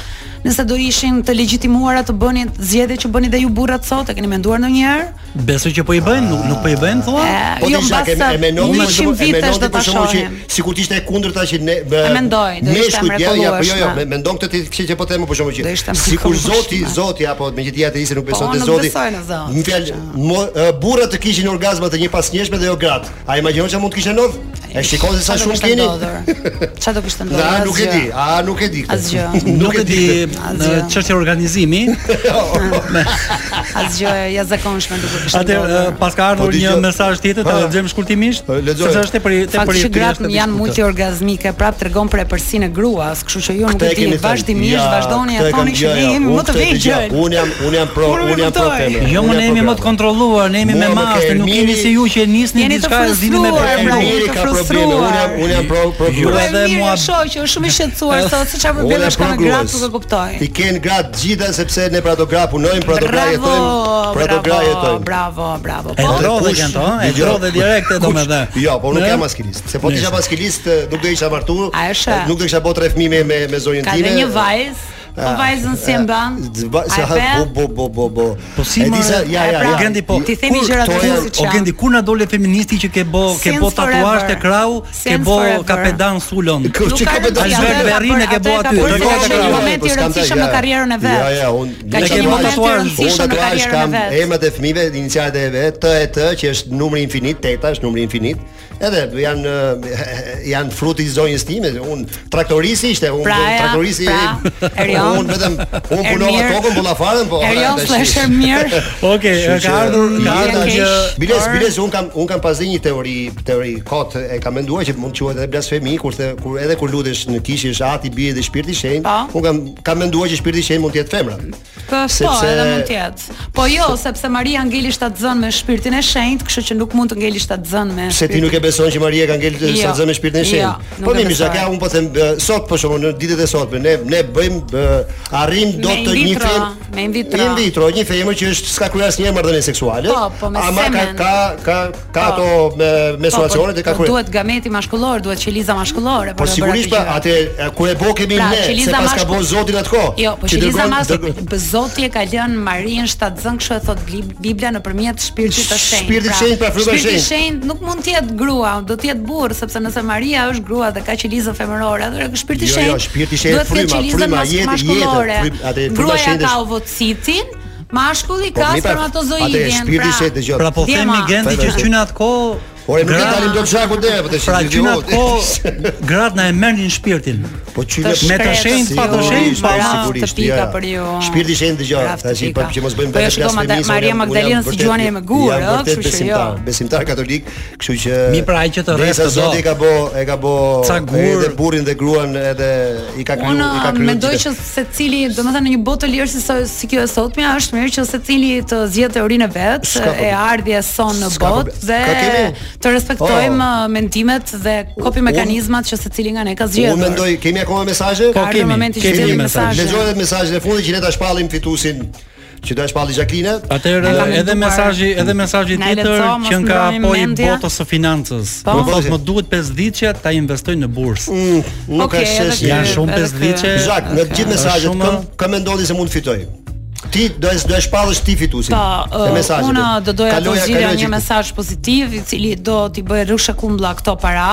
Nëse do ishin të legjitimuara të bënin zgjedhje që bëni dhe ju burrat sot, e keni menduar ndonjëherë?
besoj që po i bëjnë, nuk, nuk po i bëjnë thua?
E,
Po
ju
ti shak e
jo, mbas
e menon për
100
shkakun e
vitesh
menon
do ta
ti për shkakun që
shohim.
sikur të ishte e kundërta që ne bë,
E mendoj, do ishte
meshkujt, ja, ja, po jo, jo,
mrekullueshme.
me- mendon këtë ti kishte që po them për shkakun
Do ishte
që sikur Zoti,
mrekullueshme.
Zoti apo me që ti ateiste nuk beson
Po,
te
nuk
Zoti.
besoj në Zot.
Në fjalë, mo- e, burrat të kishin orgazma të një pasnjëshme dhe jo gratë. A imagjinon çfarë mund të kishte ndodh? E shikon se sa
Qa do
shumë
kishte
keni.
ndodhur? Qa do kishte ndodhur?
Na nuk e
Asgjë.
di, a nuk e di. këtë.
Asgjë.
Nuk e di
Asgjë.
në çështje organizimi.
Asgjë e jashtëzakonshme nuk e kishte
Atë eh, uh,
ndodhur.
pas ka ardhur
Po, di
një
që-
mesazh tjetër, ta
Ha.
lexojmë shkurtimisht.
Po, lexoj.
Sepse është tepër tepër
Fakti që gratë janë
multi
multiorgazmike, prap tregon për epërsinë e gruas, kështu që ju nuk
Këtë
e
e
di
kemi thënë.
vazhdimisht
Ja,
vazhdoni
këtë
e
e
thoni
kam-
që
ja,
ne
ja,
jemi
unë
më të
këtë e dëgjoj.
vegjël.
Unë jam unë jam pro,
Unë nuk
unë jam pro
kuptoj.
teme.
Jo,
Unë
më
jam
ne jemi
pro
më të
teme.
kontrolluar, ne jemi
Mua
me
më ke
masë, nuk jemi
Ermiri-
si ju që nisni
Jeni të
diçka e zini me
frustruar,
premte.
pra,
Ermiri
jemi të
ka probleme, unë jam unë jam pro pro
Ju
gruas.
Po e
edhe
mirë
mua-
e shoh që është shumë i shqetësuar sot, se çfarë probleme ka me gratë nuk e kuptoj.
Ti ken gratë gjitha sepse ne për ato gra punojmë, për ato gra
Bravo,
jetojmë, për ato gra
bravo,
jetojmë.
bravo, bravo.
E
Po,
Dhe
ndrodhe
kush-
kanë to, e
dëgjoj,
ndrodhe direkte
kush-
domethënë.
Jo, po nuk
Ne?
jam maskilist, se po të isha
Nisë.
maskilist nuk do isha martuar,
A është?
nuk do kisha bërë tre fëmijë me me, me zonjën
ka
time.
dhe një vajzë,
Ah,
po vajzën si e mban?
Zba-
A
Se
e
ha
pe?
bo bo bo bo bo.
Po si
E
më-
di sa- ja
e
ja
pra,
ja.
Gendi po.
Ti themi
Kur-
gjëra të
këto
tilla
janë-
siç
O
janë.
Gendi kur na dole feministi që ke bo ke
Since
bo tatuazh
forever.
te krau, ke
Since
bo
forever.
kapedan sulon.
Kë- që
Nuk ka
ka
rëndësi,
pedalë?
Albert
atë e ka
Berrin e ke
bërë-
bo
atë e ka
aty.
bërë
Dhe
se ka
ka
qenë një
qenë
Po,
moment i rëndësishëm në karrierën e vet.
Ja, ja, unë
Ka
Ne
qenë
kemi
një moment i
tatuar-
Unë
rëndësishëm në
tatuazh
karrierën
kam
e vet.
emrat e fëmijëve, inicialet e vet, T e T, që është numri infinit, teta është numri infinit. Edhe janë eh, janë fruti i zonjës time, unë traktorisi ishte, unë
Pra, ja,
traktorisi.
pra, Erion.
unë vetëm unë punova
Ermir.
tokën bullafaren, po.
Erion
ata
slash Po,
shi-
Ermir.
Okej,
Kështu
ka
që-
ardhur ka
Ja,
ardhur
keq.
që
Biles,
Or-
biles, un kam un kam pasë një teori, teori kot e kam menduar që mund të quhet edhe blasfemi kur the, kur edhe kur lutesh në kishë është ati bie dhe shpirti i shenjtë.
Po.
Un kam kam menduar që shpirti i shenjtë mund të jetë femra.
Po, po, edhe mund të jetë. Po jo, sepse Maria ngeli shtatzën me shpirtin e shenjtë, kështu që nuk mund të ngeli shtatzën me.
Se ti nuk e beson që Maria ka ngelë të
Jo.
sa zëmë shpirtin e
Jo,
shenjtë.
nuk
po
e
mi
besoj.
mishak, ja un po them bë, sot për shkakun në ditët e sotme ne ne bëjmë bë, arrim do
Me in
të një
vitro,
fem
me in vitro.
in vitro, një femër që është s'ka kryer asnjë marrëdhënie seksuale.
Po, po, me
ama ka
semen.
ka ka, ka
Po.
ato me menstruacione dhe ka
po
kryer.
duhet gameti mashkullor, duhet qeliza mashkullore për
Po
të bërë atë
sigurisht pra,
gjë.
atë e, kur e bo kemi
Pra,
ne, se
Qeliza
pas ka
Mashku-
bo Zoti në atë kohë.
Jo, po
që
Qeliza
dërgon-
Mas,
dërgon-
Zoti e ka lënë Marin shtatzën, kështu e thot Bli- Bibla nëpërmjet shpirtit të shenjtë.
Shpirti i shenjtë, pra, fryma e
Shpirti i
shenjtë.
shenjtë nuk mund të jetë grua, do të jetë burr, sepse nëse Maria është grua dhe ka qelizë femërore, atëherë shpirti i
Jo, jo,
shenjtë.
shpirti i shenjtë,
duhet të ketë
fryma,
qelizën
fryma,
mas-
jetë, jetë,
mashkullore.
fryma, atë fryma e
Gruaja
shenjtë
ka
është-
ovocitin, Mashkulli ka
mi pra- Atë
spermatozoidin.
shpirti se dëgjoj.
Pra po
Djema.
themi Gendi që
Fajta,
qyna atko
Ore më
gra-
dalim do të shaku deri, po të
Pra
shihni
qyna
ju.
atko gratë na e merrnin shpirtin.
Po çyna
Të
Me të
shkretë,
shenjtë, pa të
sigurisht,
shenjtë, pa
bravo.
sigurisht.
të pika
ja, ja.
për ju.
Shpirti shenjtë dëgjoj.
Bravo, të
Tash i
pika.
pap që mos bëjmë
Po jo, shiko, Mada-
blasfemi.
Maria Magdalena si gjuani e me gurë,
jam
ëh,
vërtet
kështu që jo.
besimtar, besimtar katolik, kështu që
Mi pra, ai që të rreth
Besa
të do.
Zoti ka bë, e ka bë
Ca gur.
edhe burrin dhe gruan edhe i ka kryu,
Unë
i ka kryu.
mendoj që secili, domethënë në një botë të lirë si, sa- si kjo e sotmja, është mirë që secili të zgjedhë teorinë e vet,
S'ka problem.
e ardhjes son në
S'ka
botë
problem.
dhe
Ka kemi?
të respektojmë uh,
Po.
mendimet dhe kopi
Unë-
mekanizmat që secili nga ne ka zgjedhur.
Unë mendoj kemi akoma mesazhe?
Po
Ka ardhur
kemi,
momenti që
kemi
zgjedhim
një mesazh.
mesazhe.
Lexoj edhe mesazhet e fundit që ne ta shpallim fituesin që do ta shpalli Jacqueline.
Atëherë
Na ka menduar.
edhe mesazhi, edhe mesazhi
Na
tjetër
leco, mos
që nga
ndrojmë
po i
mendja.
botës së financës.
Po.
Po thot më duhet 5 ditë ta investoj në bursë.
Mm, Nuk ka
Okej, edhe
shesh.
ky-
janë
Janë shumë
edhe
5
ky-
ditë.
Zhak, në të gjithë mesazhet
Shumë-
kam kam mendoni se mund të fitoj. Ti do të do e shpallësh ti fituesin.
Po,
me
ë,
mesazhet.
unë do doja të
Kaloja-
zgjidhja
kaloja
një
gjithë.
mesazh pozitiv i cili do t'i bëjë rrusha kumbulla këto para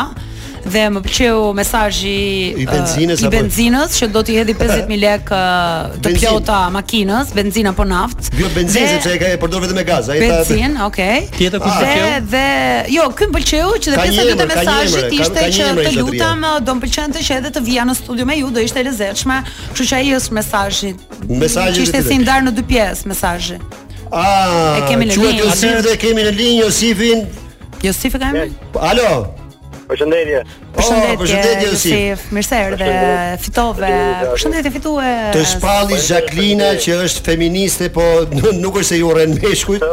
dhe më pëlqeu mesazhi
I benzinës
ë, i
apo-
benzinës që do t'i hedhi 50000 lekë ë, uh, të
Benzin.
plota makinës, benzina apo naftë.
Vjo benzinë
Dhe-
sepse e ka e përdor vetëm me gaz. Ai tha
Benzin, okay.
Tjetër ku
Dhe
pëlqeu?
dhe jo, ky më pëlqeu që dhe
Ka
pjesa
një
e dytë e
emër, ka një
mesazhit
emër, ka-
ishte
ka një
që
emër,
të
zotëria.
lutam do më pëlqente që edhe të vija në studio me ju, do ishte e lezetshme. Kështu që ai është mesazhi.
Mesazhi
që ishte
i
si
dytë.
ndar në dy pjesë mesazhi.
Ah,
E kemi në linjë.
Josif dhe kemi në linjë Josifin.
Josif e Jo, ka emrin?
Alo.
Përshëndetje.
Oh, përshëndetje
Përshëndetje
Josif.
Josif, mirë se erdhe,
Përshëndetje.
fitove.
Përshëndetje.
Përshëndetje fitue.
Të shpalli Jacqueline që është feministe, po n- nuk është se ju rren meshkujt.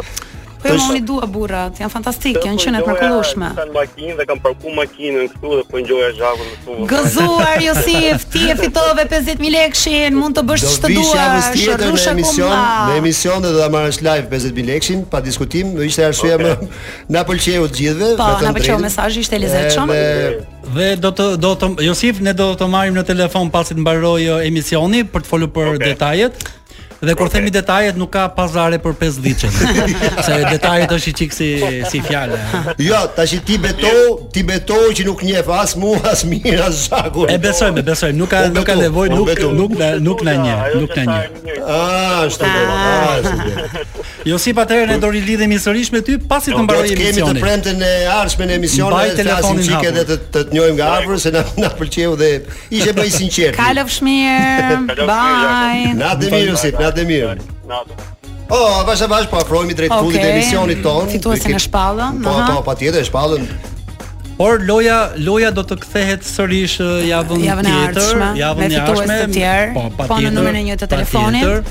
Po jo, unë i dua burrat, janë fantastik,
po
janë qenë mrekullueshme.
Kan makinë dhe kam parkuar makinën këtu dhe po ngjoja zhakun këtu.
Gëzuar Josif, ti e fitove 50000 lekshin, mund të bësh
Do
ç'të
vish javës
duash,
tjetër në
rrusha
emision, në
kumba.
emision dhe do ta marrësh live 50000 lekshin pa diskutim, ishte arsyeja
Okay.
më na pëlqeu të gjithëve.
Po,
me thënë
na pëlqeu
drejtën.
mesazhi, ishte e lezetshëm.
Edhe-
Dhe do të do të Josif, ne do të marrim në telefon pasi të mbaroj ë, emisioni për të folur për detajet. Dhe kur themi detajet nuk ka pazare për 5 ditën. se detajet është i çik si si fjalë.
Jo, tash ti beto, ti beto që nuk njeh as mua, as mirë, as zhakun.
E besojmë, e besojmë, nuk ka
Unë
nuk ka
Po, betu,
nevojë,
unë
nuk
betu.
nuk na nuk na njeh, nuk na njeh.
Ah, është ajo. Ah, është ajo.
Josip, Jo, atëherë ne do rilidhemi sërish me ty pasi të
Jo, Do të
mbaroj
kemi të
emisionin.
premten e ardhshme në emision
Mbaj
edhe të flasim
telefonin
çike
hapur.
edhe të të të njohim nga afër se na na pëlqeu dhe ishe më i sinqert.
Kalofsh mirë.
Kalofsh mirë,
Bye.
Natë e mirë, Josip, natë e mirë.
Natë.
Oh, bash e bash po afrohemi drejt
Okej.
fundit të emisionit ton.
Fituesin
Ke-
e shpallën,
Po,
aha.
po, patjetër, e shpallën.
Por loja loja do të kthehet sërish ë, javën
Javën e
tjetër,
ardhshme, me
javën e
fitues
ardhshme.
të tjerë,
Po,
po në
patjetër.
numrin e një të telefonit.
patjetër.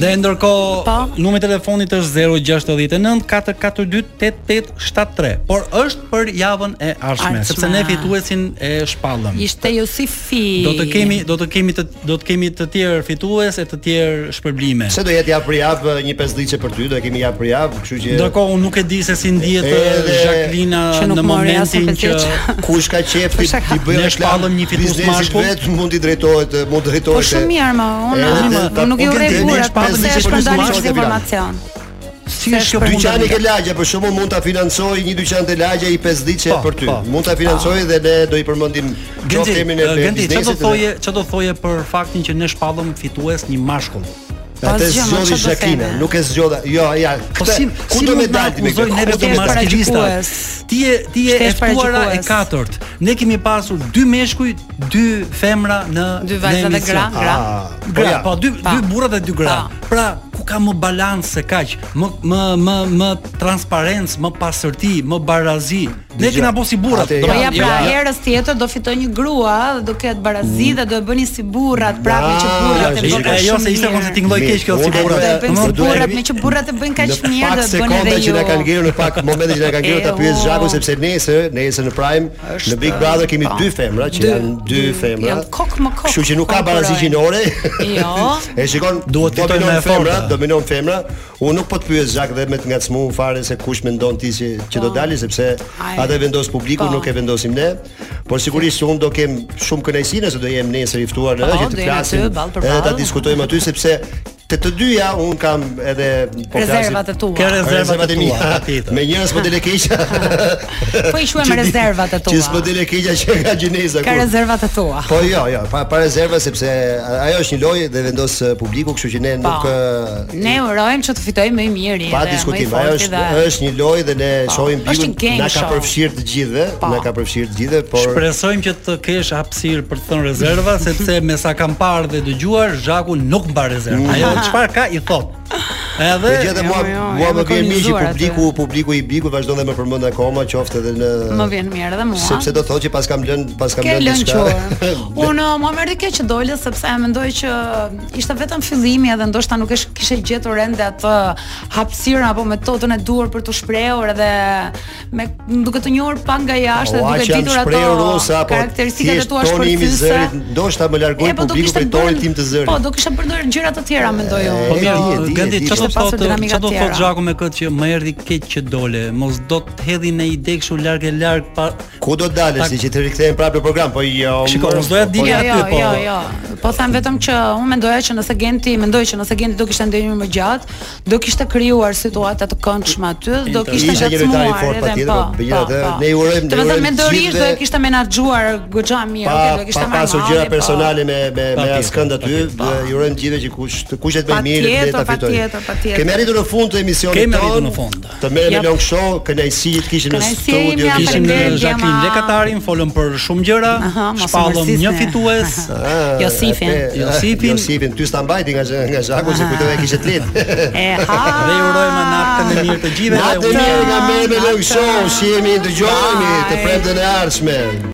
Dhe ndërkohë
Po.
numri i telefonit është 069 442 8873, por është për javën e ardhshme,
Ardhshme.
sepse ne fituesin e shpallëm.
Ishte Josifi.
Do të kemi do të kemi të do të kemi të tjerë fitues e të tjerë shpërblime.
Se do jetë javë për javë një pesdhiçe për ty, do e kemi javë për javë, kështu që
Ndërkohë unë nuk e di se si ndihet
Edhe-
Jacqueline
Që nuk
në
mori asnjë
momentin që
pesdhiçe.
Kush ka qef ti
Kush e ka?
ti bëj
Ne shpallëm një fitues mashkull.
Vetë mund i drejtohet, mund drejtohet.
Po shumë mirë ma, unë
Edhe
unë
ta-
nuk i
po
urrej
keni
burrat,
shpallën
po
një
pse
fitues
është
mashkull
ndalë
të
këtë
Tiranës.
informacion.
si është kjo punë?
Dyqani ke lagje, për shembull mund ta financoj një dyqan të lagje i 5 ditë
Po,
për ty.
po.
Mund ta financoj dhe ne do i përmendim
Genzi,
qoftë temën e
ë, Genzi, çfarë eh, do
biznesit.
thoje, çfarë do thoje për faktin që ne shpallëm fitues një mashkull?
Atë
Asgjë, ma,
zgjodhi
çfarë do
Jacqueline,
theme?
nuk e zgjodha. Jo, ja.
Po
këtë-
si
ku
si
do
mund
me
na
dalë ti me
akuzoj
këtë?
neve
Ku do
Shtesh
të
me-
maskilista.
paraqikues.
Ti je ti je e
Shtesh
ftuara e
paraqikues.
katërt. Ne kemi pasur dy meshkuj, dy femra në
Dy
në
vajza dhe
emision.
gra, gra.
Ah, po
Gra,
ja.
po dy
Pa.
dy burra dhe dy gra.
Pa.
Pra, ku ka më balancë se kaq, më më më më transparencë, më pasërti, më barazi. Ne
Dëgjoj.
kena po si burrat.
Atë,
do
Po
Ja,
ja
thonë,
pra
ja.
herës tjetër do fitoj një grua, do ketë barazi
Mm.
dhe do e bëni si burrat, prapë
Ah,
që burrat e
jo,
bëjnë.
Jo, jo se ishte konse tinglloj
Mirë,
keq kjo si
unë
burra.
burrat.
Do e bëjnë si
Do e-
burrat, me që burrat e bëjnë kaq mirë
pak
do e bënë
sekonda
edhe
që na kanë
ju.
ngelur në pak momente që na kanë ngelur ta
E,
pyes
o.
Zhakun sepse nesër, nesër në Prime,
Është,
në Big Brother kemi
pa.
dy femra që
Dy,
janë dy
dy,
femra.
janë kok më kok,
Kështu që nuk ka barazi
konkurrojnë.
gjinore.
Jo.
E shikon, dominon
Duhet fitojnë me e
femra,
forta.
dominon femra. Unë nuk po të pyes Zhak dhe me të ngacmu fare se kush mendon ti që, që do dali sepse
Po. Ai.
atë e vendos publiku,
Po.
nuk e vendosim ne. Por sigurisht unë do kem shumë kënaqësi nëse do jem nesër i ftuar në
Po,
që
do
të
jemi
flasim
aty, ballë për
edhe ta
ballë.
diskutojmë aty sepse Te të dyja un kam edhe po
Rezervat e tua.
Ke rezervat e tua,
mia.
patjetër.
Me njëra s'po dele keqja.
Po i quajmë
Që di-
rezervat e
Që s'po
tua.
dele keqja që ka gjineza
Ka rezervat e tua.
Po jo, jo, pa, pa rezerva sepse a- ajo është një lojë dhe vendos eh, publiku, kështu që ne nuk eh,
Ne urojmë që të fitojmë më i miri
pa
dhe
diskutim.
më i
Ajo
forti
është
dhe
është një lojë dhe ne shohim
Është një game
bikun, na ka
show.
përfshirë të gjithëve,
Po.
na ka përfshirë të gjithëve, por
Shpresojmë që të kesh hapësirë për të thënë rezerva, sepse me sa kam parë dhe dëgjuar, Zhaku nuk mban rezervë. Ajo çfarë ka i thot. Edhe
Dhe gjithë mua
Jo, jo,
mua
jam
më vjen mirë që
kolonizuar aty.
publiku publiku i biku vazhdon dhe më përmend akoma qoftë edhe në
më vjen mirë edhe mua.
sepse do të thotë që pas kam lënë pas kam
Ke
lënë
lënë
diçka.
qurë. Unë uh, mua më erdhi keq që dole sepse mendoj që ishte vetëm fillimi edhe ndoshta nuk esh kishe gjetur ende atë hapësirën apo metodën e duhur për të shprehur edhe me duke të njohur pa nga jashtë
Ua,
dhe
që
duke
jam
ditur
shprehur
ato
unë sa, po
karakteristikat e
thjesht
tua
toni im i
shpërthyese.
zërit, ndoshta më largoi
E, po do
publiku
kishte
prej tonit
bërë-
tim të zërit.
Po do kishte përdorur gjëra të tjera mendoj unë.
e,
Po
e, di, e, di,
mirë,
e,
Gandhi,
di,
çfarë
kishte
do
pasur
thotë,
dinamika
çfarë do thotë
tjera.
Zhaku me këtë që më erdhi keq që dole, mos do të hedhi në ide kështu larg e larg pa
Ku do dalësh
Tak.
ti që të rikthehen prapë në program? Po jo.
Shiko,
mërë,
mos doja
po,
dilja
po,
aty,
jo,
po-
Jo, jo, po them vetëm që unë mendoja që nëse Genti, mendoj që nëse Genti do kishte ndenjur më gjatë, do kishte krijuar situata të këndshme aty, do kishte
Isha një lojtar i
ngacmuar
fortë,
edhe
patjetër,
po.
po, megjithatë,
po, po.
ne i urojmë-
Të
ne i
vetëm
urojmë
me dërish
gjithve-
do e kishte menaxhuar goxha mirë,
Pa,
okay, do e
pa
kishte marrë.
pasur
malli,
gjëra
po.
personale me me me
Patjetër,
askënd aty,
patjetër,
dhe i urojmë gjithëve që kush të kushet më mirë dhe ta
Patjetër,
fitoj.
patjetër, patjetër.
Kemi arritur në fund të emisionit
Kemi arritur
ton,
në fund.
Të merrem me
Jep.
long show, kënaqësi që kishin në
Kënaqësi
studio.
jemi, ja,
kishin-
Kishim
faleminderit,
në Jacqueline
Gema.
Lekatarin, folëm për shumë gjëra,
Aha, mos u
shpallëm
mërzisni.
një fitues.
Ah,
Josifin. Ah.
atë-
Josifin.
Josifin, ty s'ta mbajti nga nga Zhaku, se kujtova e kishe të lehtë.
E ha.
Dhe i urojmë natën e mirë të gjithëve.
Natë
dhe
e mirë
unë-
nga merrem me long show, shihemi, dëgjohemi të
Bye.
premten e ardhshme.